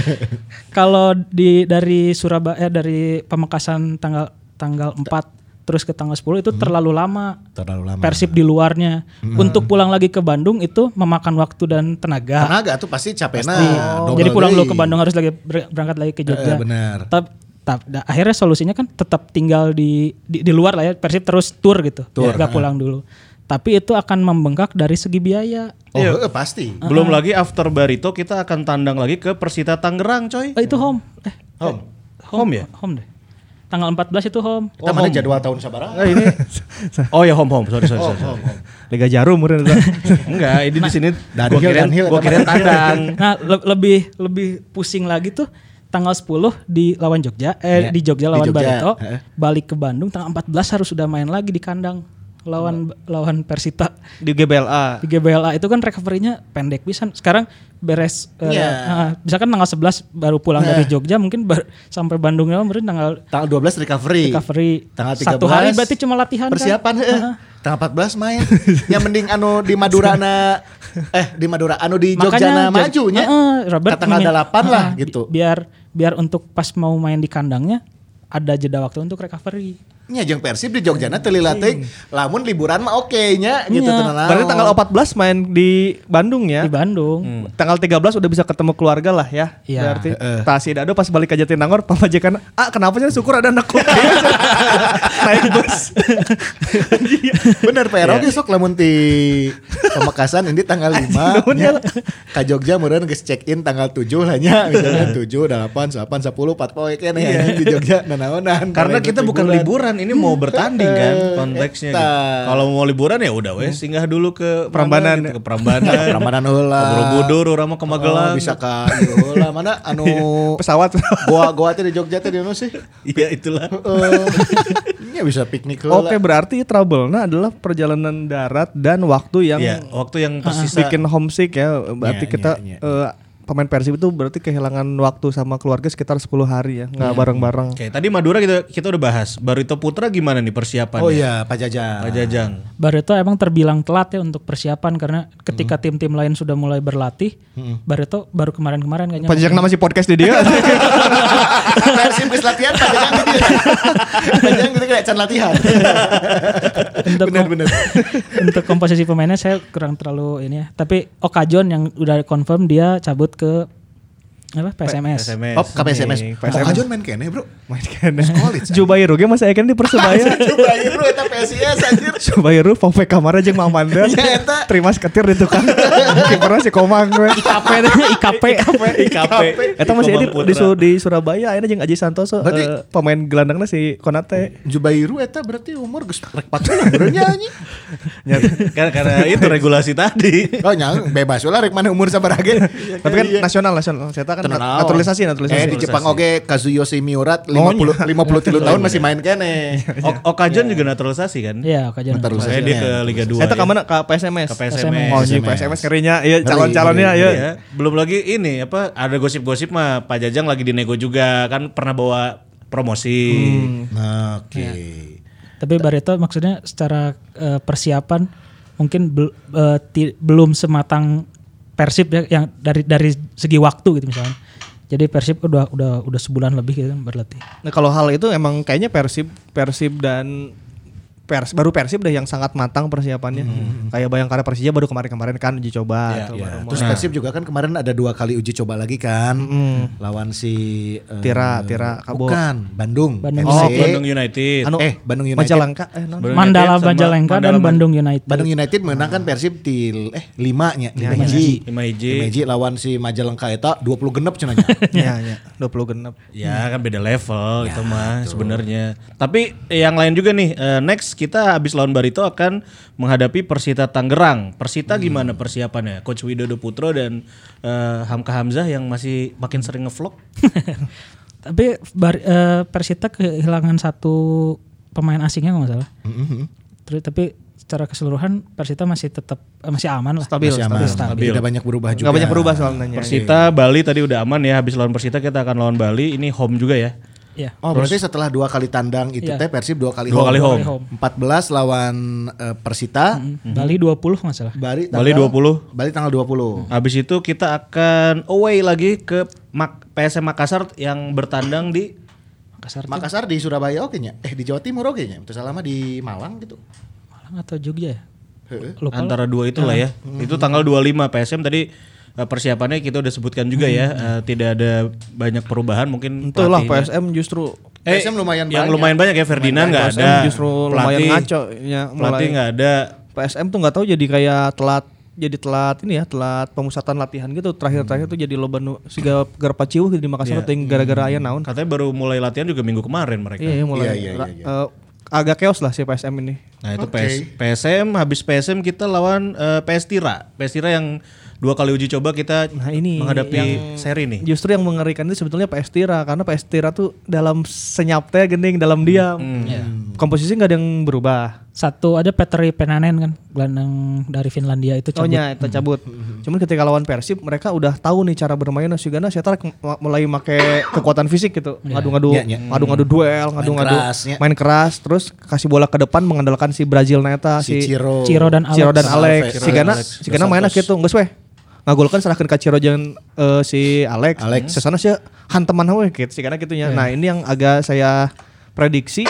Kalau di dari Surabaya eh, dari Pamekasan tanggal tanggal 4 terus ke tanggal 10 itu terlalu lama.
terlalu lama
Persib di luarnya. Untuk pulang lagi ke Bandung itu memakan waktu dan tenaga.
tenaga tuh pasti capek nah
Jadi pulang dulu ke Bandung Ya. harus lagi ber- berangkat lagi ke
Eh,
Jogja.
benar.
Tap- tap- da- akhirnya solusinya kan tetap tinggal di, di di luar lah ya. Persib terus tour gitu.
Tour, eh.
Nggak pulang dulu. Tapi itu akan membengkak dari segi biaya.
oh eh, pasti
Belum lagi after Barito kita akan tandang lagi ke Persita Tangerang, coy.
Eh, itu home. Eh,
Home.
home,
Home ya?
Home deh. Tanggal 14 itu home.
kita mana jadwal tahun sabaraha
Nah, ini Oh ya home home, Nah, sorry sorry sorry. sorry.
Liga Jarum meureun eta.
Enggak, ini di sini
Downhill,
gua kirain
downhill,
gua kirain tandang.
Nah, le- lebih lebih pusing lagi tuh tanggal 10 di lawan Jogja
Iya,
eh di Jogja
di
lawan
Jogja. eh.
Barito,
Heeh.
balik ke Bandung tanggal 14 harus sudah main lagi di kandang lawan lawan Persita
Di GBLA.
di GBLA itu kan recovery-nya pendek pisan. Sekarang beres eh,
Iya. Nah.
ah, misalkan tanggal 11 baru pulang dari Jogja mungkin bar- sampai Bandungnya mungkin tanggal
tanggal 12 recovery
recovery
Iya. tanggal 13
satu hari berarti cuma latihan kan?
persiapan eh, heeh. tanggal 14 main yang mending anu di Madura na eh di Madura anu di Jogja na
Jog-
majunya
Heeh, Robert
ke tanggal
menye-
8 lah
Heeh,
gitu
bi- biar biar untuk pas mau main di kandangnya ada jeda waktu untuk recovery
nya jeung Persib di Jogja na teu lilatik lamun liburan mah oke nya gitu
Iya.
tenang
Berarti tanggal 14 main di Bandung ya.
di Bandung
Hmm.
Tanggal 13 udah bisa ketemu keluarga lah ya.
Iya.
Berarti Tasi Dado pas balik ke Jatinangor pamajikan, "Ah, kenapa sih syukur ada anak kuliah." Naik bus.
Bener
Iya.
PR oke sok lamun ti Pemekasan ini tanggal 5 nya ka Jogja meureun geus check in tanggal 7 lah nya misalnya 7 8 8 10 4 poe keneh anjing di Jogja nanaonan
Karena kita bukan liburan, ini mau bertanding kan konteksnya.
Eta.
gitu. Kalau mau liburan ya udah wes, singgah dulu ke mana
Prambanan.
gitu, ke Prambanan.
Prambanan Eh, heula.
Ke Borobudur urang mah ke Magelang.
Oh, bisa ka ieu heula mana anu
Pesawat.
goa-goa teh di Jogja teh di mana sih?
Iya itulah.
Heeh. Nya bisa piknik heula.
Oke, berarti trouble nah adalah perjalanan darat dan waktu yang Ah.
Iya, Ya, waktu yang tersisa
bikin homesick ya. Berarti
Iya,
kita
iya,
eh, pemain Persib itu berarti kehilangan waktu sama keluarga sekitar 10 hari ya, nggak
Iya.
bareng-bareng.
Oke, tadi Madura kita kita udah bahas. Barito Putra gimana nih persiapannya?
Oh iya, Pak Jaja.
Pak Jajang.
Barito emang terbilang telat ya untuk persiapan karena ketika
Hmm.
tim-tim lain sudah mulai berlatih, Barito baru kemarin-kemarin kayaknya.
Pak Jajang nama si podcast di dia.
Persib geus latihan Pak Jajang gitu. Pak Jajang gitu kayak can latihan.
untuk untuk komposisi pemainnya saya kurang terlalu ini ya. Tapi Okajon yang udah confirm dia cabut ke apa PSMS.
SMS.
Oh, KPSMS.
PSMS.
Oh, Ajon main kene, Bro.
Main kene.
College, ah.
Jubairu ge masih akan di Persebaya.
Coba ieu bro eta PSIS anjir.
Jubairu Pove Kamara jeung Mamanda.
Ya, eta.
Terima seketir di tukang. Kiperna si Komang we.
IKP IKP.
IKP.
Eta masih di,
Komar
di,
Putra.
di Surabaya Ayeuna jeung Aji Santoso
Berarti-
eh, pemain gelandangnya si Konate.
Jubairu eta berarti umur geus rek 40 bro nya anjing.
karena, karena itu regulasi tadi.
Oh, nyang bebas ulah rek mana umur sabar ge. Iya.
Tapi kan nasional nasional. Saya kan
Terkenal. Eh
naturalisasi
di
naturalisasi.
Jepang oke Kazuyoshi Miurat
Oh,
50 53 tahun masih main kene.
O- Okajon juga naturalisasi kan?
Iya Okajon.
Bentar,
Iya. Saya dia ke Liga ya. 2.
Eta ka mana? Ka PSMS.
iya. Ke PSMS.
Oh, anjing, PSMS kerinya. Iya, calon-calonnya ya.
Iya, belum lagi ini apa ada gosip-gosip mah Pak Jajang lagi dinego juga kan pernah bawa promosi.
Nah, Oke.
Tapi Barito maksudnya secara eh, persiapan mungkin bel- eh, ti- belum sematang Persib ya yang dari dari segi waktu gitu misalnya. Jadi Persib udah udah udah sebulan lebih gitu kan berlatih.
Nah kalau hal itu emang kayaknya Persib, Persib dan Pers baru Persib deh yang sangat matang persiapannya.
Hmm.
Kayak Bayangkara Persija baru kemarin-kemarin kan uji coba.
Iya,
atau baru mau-
Iya. Terus Persib juga kan kemarin ada dua kali uji coba lagi kan lawan si eh,
Hmm.
Tira, Tira, Kabo.
Bukan, Bandung.
Bandung
FC.
Oh, Bandung United.
Anu,
eh, Bandung United.
Majalengka, eh, non.
Bandung
Mandala
United sama
Majalengka dan
Mandala Man-
Bandung United.
Bandung United menang kan Persib di eh limanya di
hiji.
hiji.
Lima hiji.
Lima hiji lawan si Majalengka eta 20 genep cenah nya.
Iya, iya. 20 genep.
Ya kan beda level itu mah sebenarnya. Tapi yang lain juga nih eh, next kita habis lawan Barito akan menghadapi Persita Tangerang. Persita gimana persiapannya? Coach Widodo Putro dan eh, Hamka Hamzah yang masih makin sering ngevlog.
Tapi Bar- eh, Persita kehilangan satu pemain asingnya kalau nggak salah.
Mm-hmm.
Terus tapi secara keseluruhan Persita masih tetap eh, masih aman lah.
Stabil,
Masih aman. Tidak banyak berubah juga.
Gak banyak berubah soalnya.
Persita Bali tadi udah aman ya habis lawan Persita kita akan lawan Bali ini home juga ya.
Iya.
Oh, berarti setelah dua kali tandang itu
Iya.
teh Persib dua kali
Dua kali home.
14 lawan eh, Persita.
Bali 20 nggak salah.
Bali
Bali 20.
Bali tanggal 20.
Habis itu kita akan away lagi ke Mak PSM Makassar yang bertandang di
Makassar tuh
Makassar di Surabaya oke nya. Eh di Jawa Timur oke nya. Terus lama di Malang gitu.
Malang atau Jogja ya?
Heeh.
Lupa.
antara dua itulah ya. Itu tanggal 25 PSM tadi eh, persiapannya kita udah sebutkan juga ya,
Hmm.
eh, tidak ada banyak perubahan mungkin
Itulah
pelatihnya-
PSM justru
Eh,
PSM lumayan
yang
banyak.
lumayan banyak ya Ferdinand nggak
PSM
ada.
justru lumayan ngaco ya,
Pelatih
mulai.
nggak ada.
PSM tuh nggak tahu jadi kayak telat jadi telat ini ya telat pemusatan latihan gitu terakhir-terakhir tuh jadi loba nu siga garpa ciuh gitu di Makassar ting gara-gara aya naon
Katanya baru mulai latihan juga minggu kemarin mereka.
Iya, iya mulai.
Iya. Hmm. Iya, iya,
ra- eh, agak keos lah si PSM ini.
Nah itu PS, PSM habis PSM kita lawan eh, PS Tira. PS Tira yang dua kali uji coba kita
Nah, ini
menghadapi
yang-
seri
Iya.
nih.
Justru yang mengerikan itu sebetulnya PS Tira karena PS Tira tuh dalam senyap teh gening dalam diam.
Hmm.
Komposisi nggak ada yang berubah.
Satu ada Petteri Penanen kan, gelandang dari Finlandia itu cabut.
Contohnya Oh, iya, itu cabut.
Mm-hmm.
Cuman ketika lawan Persib mereka udah tahu nih cara bermain Sugana saya tarik ma- mulai make kekuatan fisik gitu. Ngadu-ngadu
Iya, iya.
ngadu-ngadu duel, ngadu-ngadu
keras, ya.
main keras terus kasih bola ke depan mengandalkan si Brazil Neta
Si
si,
Ciro.
Ciro dan Alex.
Ciro dan
Sama
Alex.
Alex.
Si
Ciro dan
Gana,
Alex.
si Gana mainnya gitu, geus weh. Ngagolkan serahkan ke Ciro jeung eh, si Alex.
Alex. Iya.
Sesana sih hanteman we gitu, si Gana gitunya. Nah, ini yang agak saya prediksi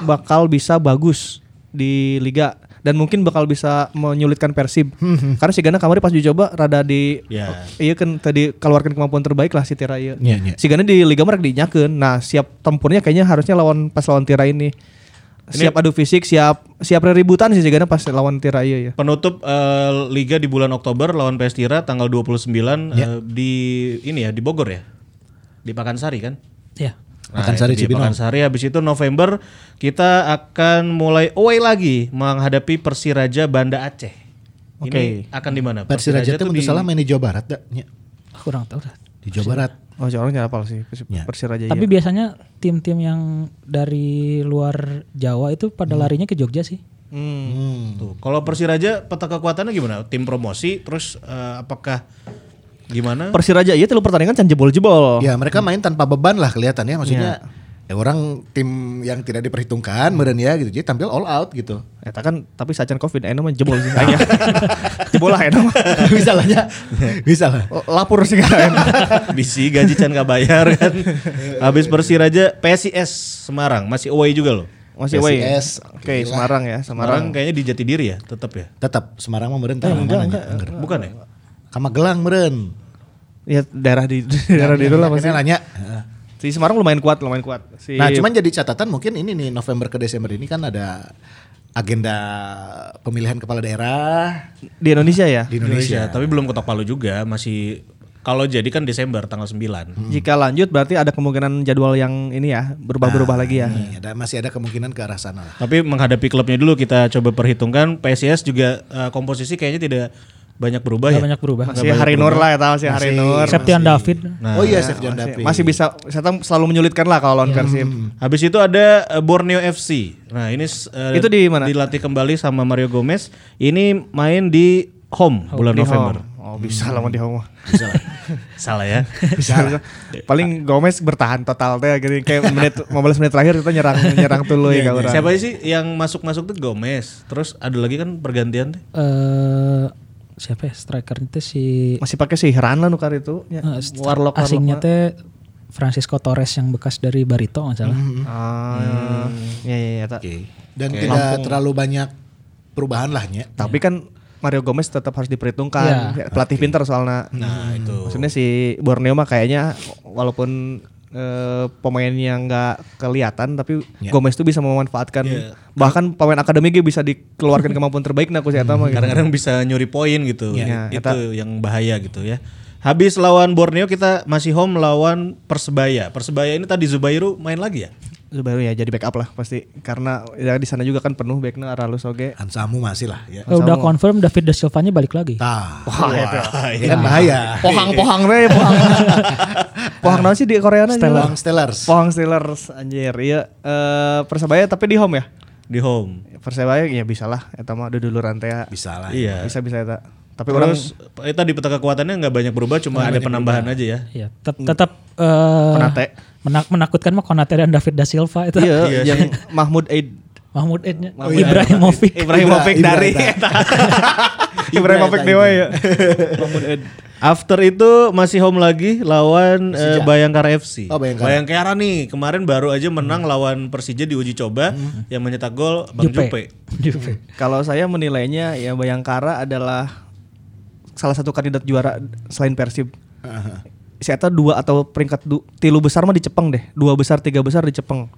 bakal bisa bagus di liga dan mungkin bakal bisa menyulitkan Persib.
Hmm.
Karena si Gana kemarin pas dicoba rada di
Ya.
iya kan tadi keluarkan kemampuan terbaik lah si Tira ieu.
Iya, iya.
Si Gana di liga mereka dinyakeun. Nah, siap tempurnya kayaknya harusnya lawan pas lawan Tira ini. Siap adu fisik, siap siap ributan sih si Gana pas lawan Tira ieu ya.
Penutup eh, liga di bulan Oktober lawan PS Tira tanggal 29
Ya.
eh, di ini ya di Bogor ya. Di Pakansari kan?
Iya.
Nah, Pakansari,
itu dia,
Cibinong.
Pakansari habis itu November kita akan mulai away lagi menghadapi Persiraja Banda Aceh. Oke. Ini akan di mana?
Persiraja tuh
di-
di... salah main di Jawa Barat dah, nya.
Aku kurang tahu dah.
Di Jawa Barat.
Oh, si orang nyapa sih Persi-
Ya.
Tapi
Persiraja. Tapi
biasanya tim-tim yang dari luar Jawa itu pada larinya ke Jogja sih.
Tuh, kalau Persiraja peta kekuatannya gimana? Tim promosi, terus eh, apakah Gimana?
Persiraja iya tilu pertandingan can jebol-jebol.
Ya mereka main tanpa beban lah kelihatannya maksudnya ya orang tim yang tidak diperhitungkan meren ya gitu. Jadi tampil all out gitu.
Eta kan tapi sajian covid eno mah jebol
Iya.
sih tanya. jebol lah eno. mah.
bisa lah ya. Bisa lah.
Lapor sih kan.
Bisi gaji can gak bayar kan. Habis Persiraja PSIS Semarang masih away juga loh.
Masih away.
PSIS, alhamdulillah.
Oke, Semarang ya,
Semarang
Semarang.
kayaknya di Jatidiri ya, tetap ya.
Tetap Semarang mah meren tah mana nya, angger.
Bukan ya?
Kamagelang meren.
Ya daerah di daerah di lah pasti.
Ini nanya.
Si Semarang lumayan kuat, lumayan kuat. Si
Nah, cuman jadi catatan mungkin ini nih November ke Desember ini kan ada agenda pemilihan kepala daerah
di Indonesia ya.
di Indonesia.
Iya, Tapi belum kotak palu juga, masih kalau jadi kan Desember tanggal 9.
Hmm. Jika lanjut berarti ada kemungkinan jadwal yang ini ya berubah-berubah lagi ya.
Nih, ada masih ada kemungkinan ke arah sana lah.
Tapi menghadapi klubnya dulu kita coba perhitungkan PSIS juga eh, komposisi kayaknya tidak banyak berubah
Gak
ya.
banyak berubah.
Oh, iya. Masih Hari Nur lah ya tahu sih Hari Nur.
Septian David.
oh iya, Septian David.
Nah, Masih bisa saya tahu selalu menyulitkan lah kalau lawan Persib.
Habis itu ada eh, Borneo FC. Nah, ini eh,
Itu di mana?
Dilatih kembali sama Mario Gomez. Ini main di home bulan
Di
November.
home. Oh, bisa lawan di home.
Salah ya.
Bisa. Paling Gomez bertahan total teh gini kayak menit 15 menit terakhir kita nyerang nyerang tuluy ya orang.
iya. Siapa sih yang masuk-masuk tuh Gomez. Terus ada lagi kan pergantian tuh.
Eh siapa ya striker itu si
Masih pakai si Heran lah nukar itu. Ya,
eh, stri-
Warlock
asingnya
Warlock.
teh Francisco Torres yang bekas dari Barito nggak salah.
Mm-hmm. Ah, ya ya ya. tak.
Dan tidak terlalu banyak perubahan lah nya.
Tapi
Iya.
kan Mario Gomez tetap harus diperhitungkan. Ya, Pelatih pintar soalnya. Hmm.
Nah, itu.
Maksudnya si Borneo mah kayaknya walaupun eh, pemainnya nggak kelihatan tapi
Iya.
Gomez tuh bisa memanfaatkan bahkan pemain akademi ge bisa dikeluarkan kemampuan terbaik aku sih eta
Hmm.
mah gitu.
kadang-kadang bisa nyuri poin gitu.
Iya.
Itu yang bahaya gitu ya. Habis lawan Borneo kita masih home lawan Persebaya. Persebaya ini tadi Zubairu main lagi ya?
Baru ya jadi backup lah pasti karena ya di sana juga kan penuh backnya Aralus oge.
Hansamu masih lah ya.
Eh, udah confirm David da Silva-nya balik lagi.
Tah.
Wah,
Ini kan bahaya.
Iya.
Pohang-pohang deh, pohang. pohang naon sih di Korea
Bang Stellars.
Pohang Steelers anjir. Iya eh, Persebaya tapi di home ya.
Di home.
Persebaya ya bisa lah eta mah udah dulu rantai ya.
Bisa lah.
Iya.
Bisa bisa eta. Tapi orang
Terus eh, tadi peta kekuatannya nggak banyak berubah, cuma ada penambahan aja ya.
Ya, tet- tetap eh,
Konate.
menak- menakutkan mah Konate dan David da
Ah.
Silva itu.
Iya, yang Mahmud Aid
Mahmud Ednya,
Oh iya.
Ibrahimovic.
Eh,
Ibrahimovic
Ibra-
dari
Ibra-
Ibrahimovic dewa ya. Mahmud Aid.
After itu masih home lagi lawan eh, Bayangkara FC.
Oh, Bayangkara.
nih kemarin baru aja menang lawan Persija di uji coba yang mencetak gol Bang Jupe.
Jupe.
Kalau saya menilainya ya Bayangkara adalah salah satu kandidat juara selain Persib. Si Eta dua atau peringkat du, tilu besar mah di Jepang deh. Dua besar, tiga besar di Jepang.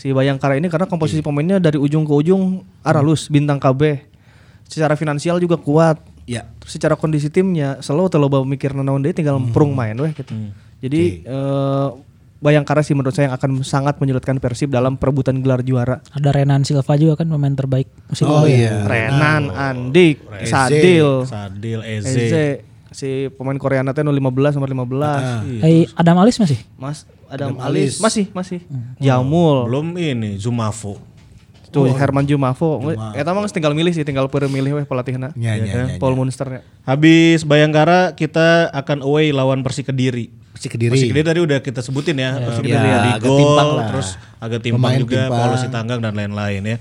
Si Bayangkara ini karena komposisi pemainnya dari ujung ke ujung aralus bintang KB. Secara finansial juga kuat.
Ya.
Terus secara kondisi timnya selalu terlalu mikir naon dia tinggal perung main weh gitu. Jadi eh, Bayangkara sih menurut saya yang akan sangat menyulitkan Persib dalam perebutan gelar juara.
Ada Renan Silva juga kan pemain terbaik musim
Oh
lalu. ya.
iya.
Renan, Andik, Sadil,
Sadil
Eh.
Eze.
Eze, si pemain Koreana teh 015 nomor 15.
Eh, Adam Alis masih?
Mas Adam, Alis. masih masih. Jamul.
Belum ini Zumafo.
Tuh Herman Jumafo. Eta mah geus tinggal milih sih, tinggal peur milih weh pelatihna.
Ya, ya, ya,
Paul Munsternya.
Habis Bayangkara kita akan away lawan Persik Kediri.
Iya. Si Kediri.
Persik Kediri tadi udah kita sebutin ya, Persik
Ya,
Kediri di
agak
gol,
timpang lah.
terus agak timpang
Pemain
juga,
timpang. Hmm.
Paulo Sitanggang dan lain-lain ya.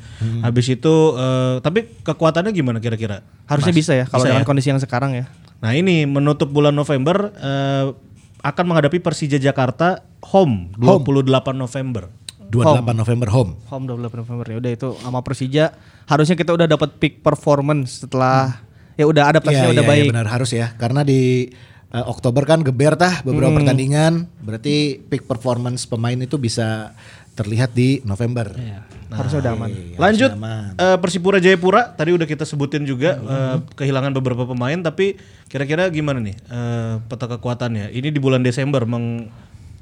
Habis itu, eh, tapi kekuatannya gimana kira-kira?
Harusnya bisa ya kalau
Bisa
dengan
ya?
kondisi yang sekarang ya.
Nah ini menutup bulan November eh, akan menghadapi Persija Jakarta home 28 November.
28 November home.
Home 12 November ya udah itu sama Persija harusnya kita udah dapat peak performance setelah ya udah
Iya,
adaptasinya udah
iya, iya,
baik.
benar harus ya. Karena di eh, Oktober kan geber tah beberapa pertandingan. Berarti peak performance pemain itu bisa terlihat di November. Nah, iya,
harusnya udah aman.
Lanjut eh, Persipura Jayapura tadi udah kita sebutin juga eh, kehilangan beberapa pemain tapi kira-kira gimana nih eh, peta kekuatannya? Ini di bulan Desember meng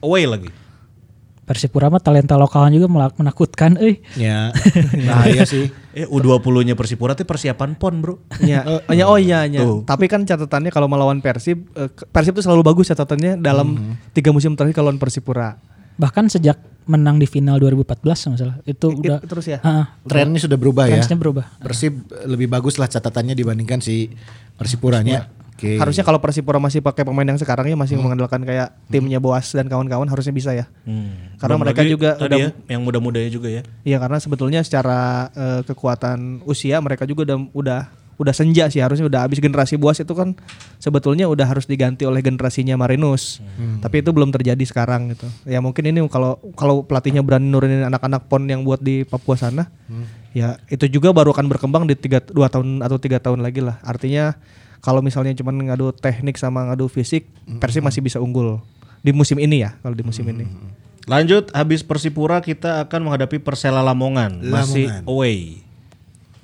away lagi.
Persipura mah talenta lokalnya juga melak- menakutkan, eh.
Ya. Bahaya sih.
Eh U20-nya Persipura tuh persiapan PON, Bro.
Ya, eh, ya, oh iya, iya. Tapi kan catatannya kalau melawan Persib, eh, ke- Persib tuh selalu bagus catatannya dalam tiga musim terakhir kalau lawan Persipura.
Bahkan sejak menang di final 2014 masalah itu
It-
udah
terus ya?
Heeh.
Trennya sudah berubah ya.
Trennya berubah.
Persib lebih bagus lah catatannya dibandingkan si Persipuranya. Oke.
Harusnya kalau Persipura masih pakai pemain yang sekarang ya masih mengandalkan kayak timnya Boas dan kawan-kawan harusnya bisa ya.
Hmm.
Karena
Belum
mereka
lagi
juga
tadi
udah-
ya, yang muda-mudanya juga ya.
Iya karena sebetulnya secara eh, kekuatan usia mereka juga udah udah udah senja sih harusnya udah habis generasi buas itu kan sebetulnya udah harus diganti oleh generasinya Marinus.
Hmm.
Tapi itu belum terjadi sekarang gitu. Ya mungkin ini kalau kalau pelatihnya berani nurunin anak-anak pon yang buat di Papua sana,
Hmm.
ya itu juga baru akan berkembang di tiga dua tahun atau tiga tahun lagi lah. Artinya kalau misalnya cuman ngadu teknik sama ngadu fisik,
Hmm.
Persib masih bisa unggul di musim ini ya kalau di musim ini.
Hmm.
Lanjut habis Persipura kita akan menghadapi Persela Lamongan, masih
Lamongan.
away.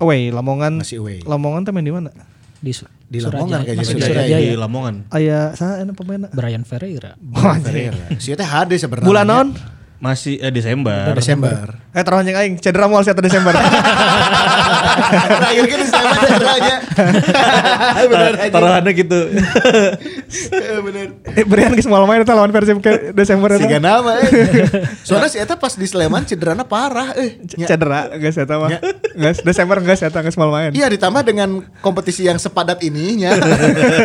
Away Lamongan.
Masih away.
Lamongan tuh main di mana?
di, Su-
Di Lamongan
Surajaya.
kayaknya,
Masuk
di
Surajaya.
ya, di Lamongan.
Oh iya,
Ayah, saya enak pemain.
Brian Ferreira.
Si teh HD sebenarnya.
Bulan non?
Masih eh, Desember.
Desember.
Eh taruh anjing aing, cedera mual satu Desember.
Terakhir kan Desember cederanya. Benar
Ta-
aja.
Taruhannya gitu.
Eh, Benar.
eh, Brian geus mual main eta lawan Persib ke Desember ya,
Siga
eta.
nama eh. Soalnya si Eta pas di Sleman cederana parah eh.
C-
Nya.
Cedera geus eta mah.
Nya.
Geus Desember geus eta geus mual main.
Iya ditambah dengan kompetisi yang sepadat ininya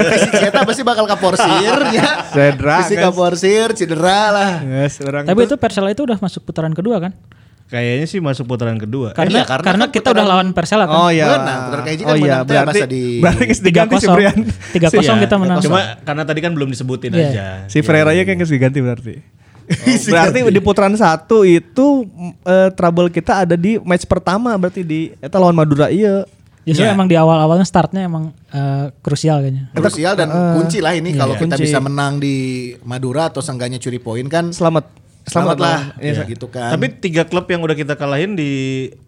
Fisik si Eta pasti bakal kaporsir ya.
Cedera,
Fisik
guys.
kaporsir cedera lah
Geus urang.
Tapi
tuh-
itu Persela itu udah masuk putaran kedua kan?
Kayaknya sih masuk putaran kedua.
iya,
Karena
karena
karena,
kan
kita udah lawan Persela kan.
Oh iya.
Menang, putar keji kan
oh iya,
menang teh
berarti
masa di-
berarti geus diganti si
3-0.
Brian.
3-0
Iya,
kita menang.
Cuma karena tadi kan belum disebutin
Iya.
aja.
Si Ferreira nya kan geus diganti berarti.
Oh,
berarti di putaran satu itu mm, eh, trouble kita ada di match pertama berarti di eta lawan Madura iya.
Justru
Iya.
emang di awal-awalnya startnya emang eh, krusial kayaknya.
Krusial dan kunci lah ini kalau kita
Iya. kunci.
bisa menang di Madura atau seenggaknya curi poin kan
Selamat.
selamat, lah
Iya.
ya, gitu kan.
Tapi tiga klub yang udah kita kalahin di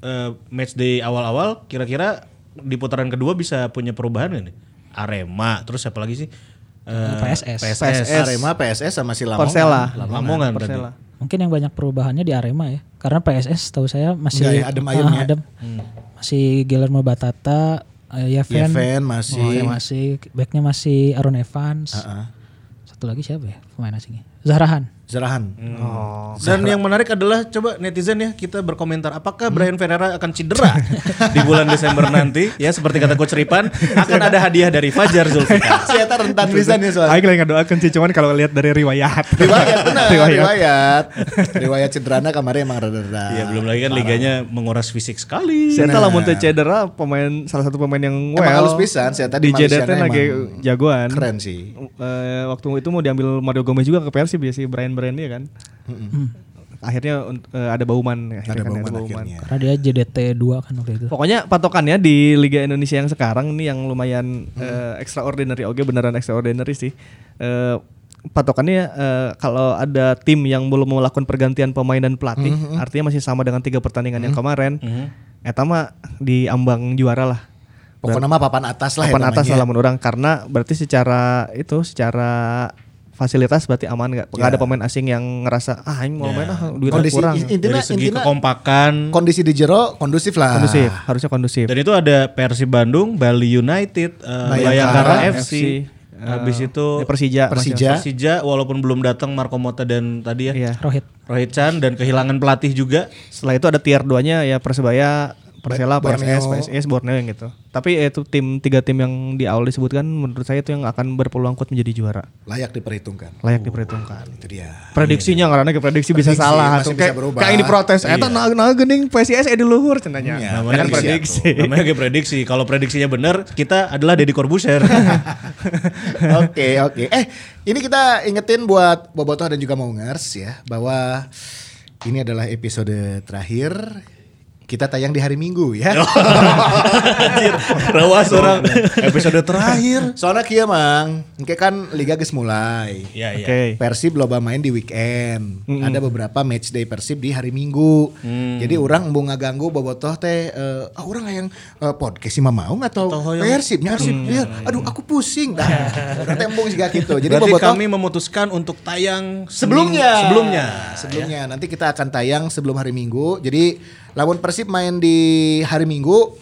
eh, match day awal-awal, kira-kira di putaran kedua bisa punya perubahan nggak nih? Arema, terus siapa lagi sih? Eh,
PSS.
PSS.
Arema, PSS sama si Lamongan.
Persela.
Lamongan tadi.
Persela.
Mungkin yang banyak perubahannya di Arema ya. Karena PSS tahu saya masih
Nggak ya, adem ayem
Ah,
ya.
adem. Masih Guillermo Batata, eh, Yeven,
Yeven masih.
Oh, iya, masih backnya masih Aaron Evans.
Heeh.
Satu lagi siapa ya pemain asingnya? Zahrahan.
Zerahan.
Hmm.
Oh.
Dan yang menarik adalah coba netizen ya kita berkomentar apakah Brian Ferreira akan cedera di bulan Desember nanti ya seperti kata Coach Ripan akan ada hadiah dari Fajar Zulfikar.
si Eta rentan bisa nih soalnya.
Aing lagi ngedoakan sih cuman kalau lihat dari riwayat.
Riwayat benar,
Riwayat.
riwayat. Riwayat cederana kemarin emang rada-rada.
Iya belum lagi kan liganya menguras fisik sekali.
Si Eta lamun teu cedera pemain salah satu pemain yang
Nah. Emang halus pisan, si Eta di
di JDT
Malaysia-nya
lagi
emang
jagoan.
Keren sih.
Eh, waktu itu mau diambil Mario Gomez juga ke Persib ya si Brian Brian dia kan. Akhirnya eh, ada Bauman akhirnya
Ada
kan,
Bauman akhirnya.
Karena dia JDT 2 kan waktu itu.
Gitu.
Pokoknya patokannya di Liga Indonesia yang sekarang ini yang lumayan
Hmm.
eh, extraordinary oke beneran extraordinary sih. Eh, patokannya eh, kalau ada tim yang belum melakukan pergantian pemain dan pelatih,
Hmm.
artinya masih sama dengan tiga pertandingan yang kemarin. Eta mah di ambang juara lah.
Pokoknya mah papan atas lah ya
Papan atas
namanya.
lah menurut orang karena berarti secara itu secara fasilitas berarti aman nggak? Nggak ada pemain asing yang ngerasa ah ini mau main ah duitnya
Ya. Kondisi iya.
kurang.
in- intinya
dari segi
intinya
kekompakan
kondisi di jero kondusif lah.
Kondusif, harusnya kondusif.
dan itu ada Persib Bandung, Bali United, eh,
Bayangkara
Bayangkara FC,
eh,
habis itu
ya, Persija,
Persija.
Persija walaupun belum datang Marco Mota dan tadi ya
Iya.
Rohit.
Rohit Chan dan kehilangan pelatih juga.
Setelah itu ada tier 2-nya ya Persebaya, Persela,
Borneo.
PSS, PSS, Borneo yang gitu. Tapi ya itu tim tiga tim yang di awal disebutkan menurut saya itu yang akan berpeluang kuat menjadi juara.
Layak diperhitungkan.
Layak diperhitungkan.
Itu dia.
Prediksinya karena ke prediksi bisa
Oh. Iya. Prediksi
salah
masih
tuh
bisa
kayak
berubah.
kayak yang diprotes eta nah nah geuning PSIS eh di luhur cenanya.
Iya,
kan
Namanya
prediksi.
tuh. Namanya kayak prediksi. Kalau prediksinya benar, kita adalah Deddy Corbuzier.
Oke oke. Eh ini kita ingetin buat Bobotoh dan juga Maungers ya bahwa ini adalah episode terakhir kita tayang di hari Minggu ya.
Anjir, rawas orang. Episode terakhir.
Soalnya kia mang, engke kan liga geus mulai.
Ya, ya.
Oke.
Persib loba main di weekend. Ada beberapa match day Persib di hari Minggu. Jadi orang embung ngaganggu bobotoh teh eh, ah urang hayang eh, podcast si Mamaung atau Persibnya Persib. Iya. Aduh aku pusing dah. Urang teh embung siga kitu. gitu. Jadi
Jadi Berarti
bobotoh
kami memutuskan untuk tayang Senin-
sebelumnya.
Sebelumnya.
Sebelumnya nanti kita akan tayang sebelum hari Minggu. Jadi lawan Persib main di hari Minggu.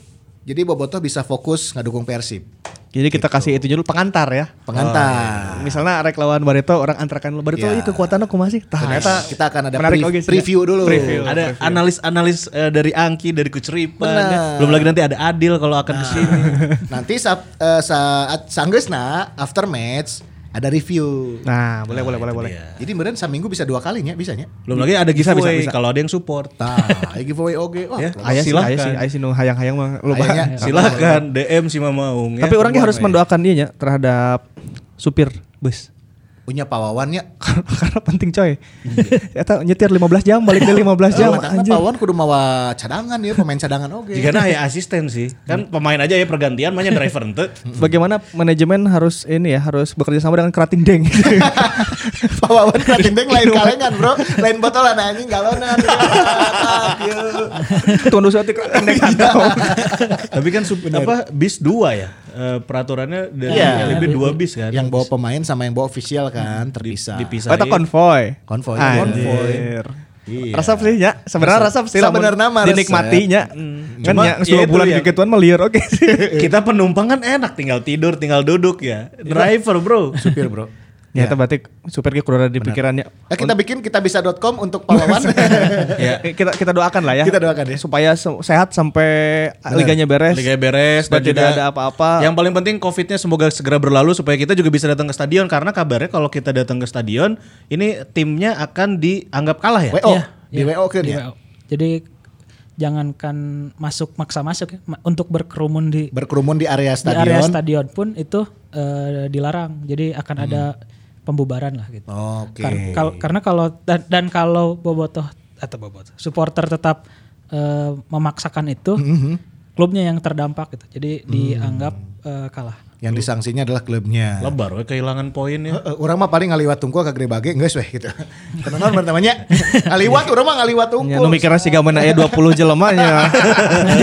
Jadi bobotoh bisa fokus ngadukung Persib.
Jadi kita kasih itu dulu pengantar ya.
Pengantar.
Misalnya arek lawan Barito orang antrakan lu Barito
Ya.
iya kekuatannya kumasih. Tah,
Ternyata
eta
kita akan ada
menarik
pre-
oge sih.
preview dulu.
Preview.
ada analis-analis eh, dari Angki, dari Kuceripan,
Benar.
ya. belum lagi nanti ada Adil kalau akan
Nah.
kesini.
Nanti sab- eh, saat sanggeusna after match ada review.
Nah, boleh boleh boleh boleh.
Jadi beneran seminggu bisa dua kalinya bisanya.
Belum lagi ada
Bisa, bisa,
giveaway
bisa.
kalau ada yang support.
Tah, aya giveaway oge. Wah,
Ya,
kalau-
Ayah sih,
Silahkan.
ayah sih, ayah sih nu hayang-hayang mah loba.
Ayahnya.
Ya, Silahkan DM si Mama Maung ya.
Tapi orangnya harus
Semua,
mendoakan dia nya terhadap supir bus.
punya pawawannya.
Karena penting coy. Eta nyetir 15 jam, balik dari 15 jam.
Jam,
anjir.
pawan kudu mawa cadangan ya pemain cadangan oge.
ya. Jika nah ya asisten sih. Kan pemain aja ya pergantian mah nya driver ente.
Bagaimana manajemen harus ini ya, harus bekerja sama dengan kerating deng.
Pawawan krating deng
Iya,
lain kalengan bro, lain botolan anjing galonan.
Tunduk suatu kerating deng kantong.
Tapi kan sup- apa bis dua ya? Eh, peraturannya dari
Iya.
LB dua bis kan.
yang bawa pemain sama yang bawa official kan terpisah.
dipisah.
Oh, itu konvoy.
Konvoy.
Anjir.
Iya.
Resep sih ya, sebenarnya resep sih lamun
Sebenarnya mah resep.
dinikmatinya. Kan
Cuma,
ya
ya
dua
itu
bulan
yang-
dikit tuan mah liar oke Ya, sih.
Kita penumpang kan enak tinggal tidur, tinggal duduk ya. Driver, Bro.
Supir bro.
Ya, itu berarti supirnya kudu ada di pikirannya.
Eh, kita bikin kita bisa.com untuk pawawan.
Iya.
ya.
Kita kita doakan lah ya.
Kita doakan ya.
Supaya se- sehat sampai liganya beres.
Liga beres
Supaya tidak ada apa-apa.
Yang paling penting COVID-nya semoga segera berlalu supaya kita juga bisa datang ke stadion karena kabarnya kalau kita datang ke stadion ini timnya akan dianggap kalah ya.
WO,
Iya,
di
iya,
WO kan
di
ya.
WO. Jadi jangankan masuk maksa masuk ya, ma- untuk berkerumun di, di
Berkerumun di area stadion.
area stadion Hmm. pun itu eh, dilarang. Jadi akan ada pembubaran lah gitu.
Oke.
Kar- kal- karena kalau dan, dan kalau bobotoh atau bobotoh supporter tetap eh, memaksakan itu, klubnya yang terdampak gitu. Jadi dianggap eh, kalah.
Yang disangsinya adalah klubnya.
Lebar we kehilangan poin ya.
Eh, Orang mah paling ngaliwat tungkul ke gede bage geus weh gitu. Kenapa namanya? Ngaliwat urang mah ngaliwat
Ya,
tungkul.
nu mikirnya ya sih gak menanya 20 jelemanya.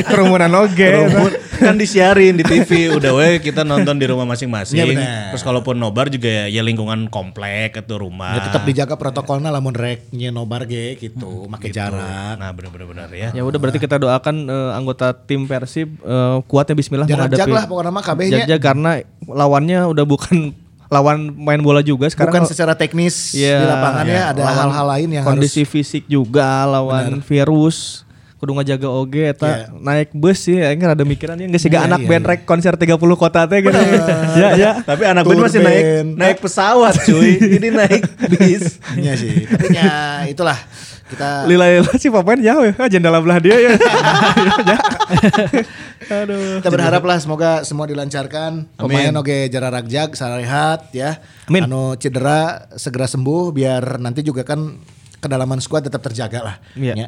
Kerumunan
ya
oge.
Rumput kan disiarin di TV udah we kita nonton di rumah masing-masing.
Iya, benar.
Terus kalaupun nobar juga ya, ya lingkungan komplek atau rumah.
Ya tetap dijaga protokolnya lamun rek nya nobar ge gitu,
Hmm,
make jarak.
Nah bener-bener benar ya.
Ya udah berarti kita doakan eh, anggota tim Persib eh, kuatnya bismillah
Jarak
menghadapi.
jag lah pokoknya mah kabehnya.
Jag-jag karena lawannya udah bukan lawan main bola juga sekarang.
Bukan secara teknis di
Iya,
lapangannya
iya.
ada
Lawan
hal-hal lain yang
kondisi
harus
fisik juga lawan virus kudu ngejaga
Iya.
oge eta naik bus sih aing rada mikiran ya geus siga anak band rek konser 30 kota teh gitu. ya ya.
Tapi anak gue
Tour
masih naik
band.
naik pesawat cuy. Ini naik bis.
Iya sih. Tapi ya itulah kita
Lila lila si pemain jauh ya, jendela belah dia ya.
kita berharaplah semoga semua dilancarkan. Pemain oge jarak jag sarehat ya.
Amin.
Anu cedera segera sembuh biar nanti juga kan kedalaman squad tetap terjaga lah.
Iya.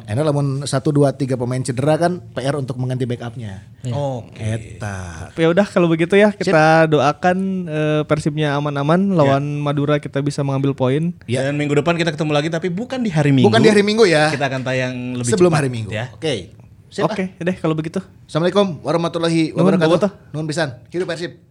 Ya, enak lamun 1 2 3 pemain cedera kan PR untuk mengganti backupnya.
Oke.
Eta.
ya udah kalau begitu ya kita doakan eh, Persibnya aman-aman lawan Madura kita bisa mengambil poin.
Ya.
Dan minggu depan kita ketemu lagi tapi bukan di hari Minggu.
Bukan di hari Minggu ya.
Kita akan tayang lebih
sebelum
cepat
hari Minggu.
ya.
Oke. Sip, ah.
Oke, ya deh kalau begitu.
Assalamualaikum warahmatullahi
Nuhun,
wabarakatuh.
bobotoh.
Nuhun pisan. Hidup Persib.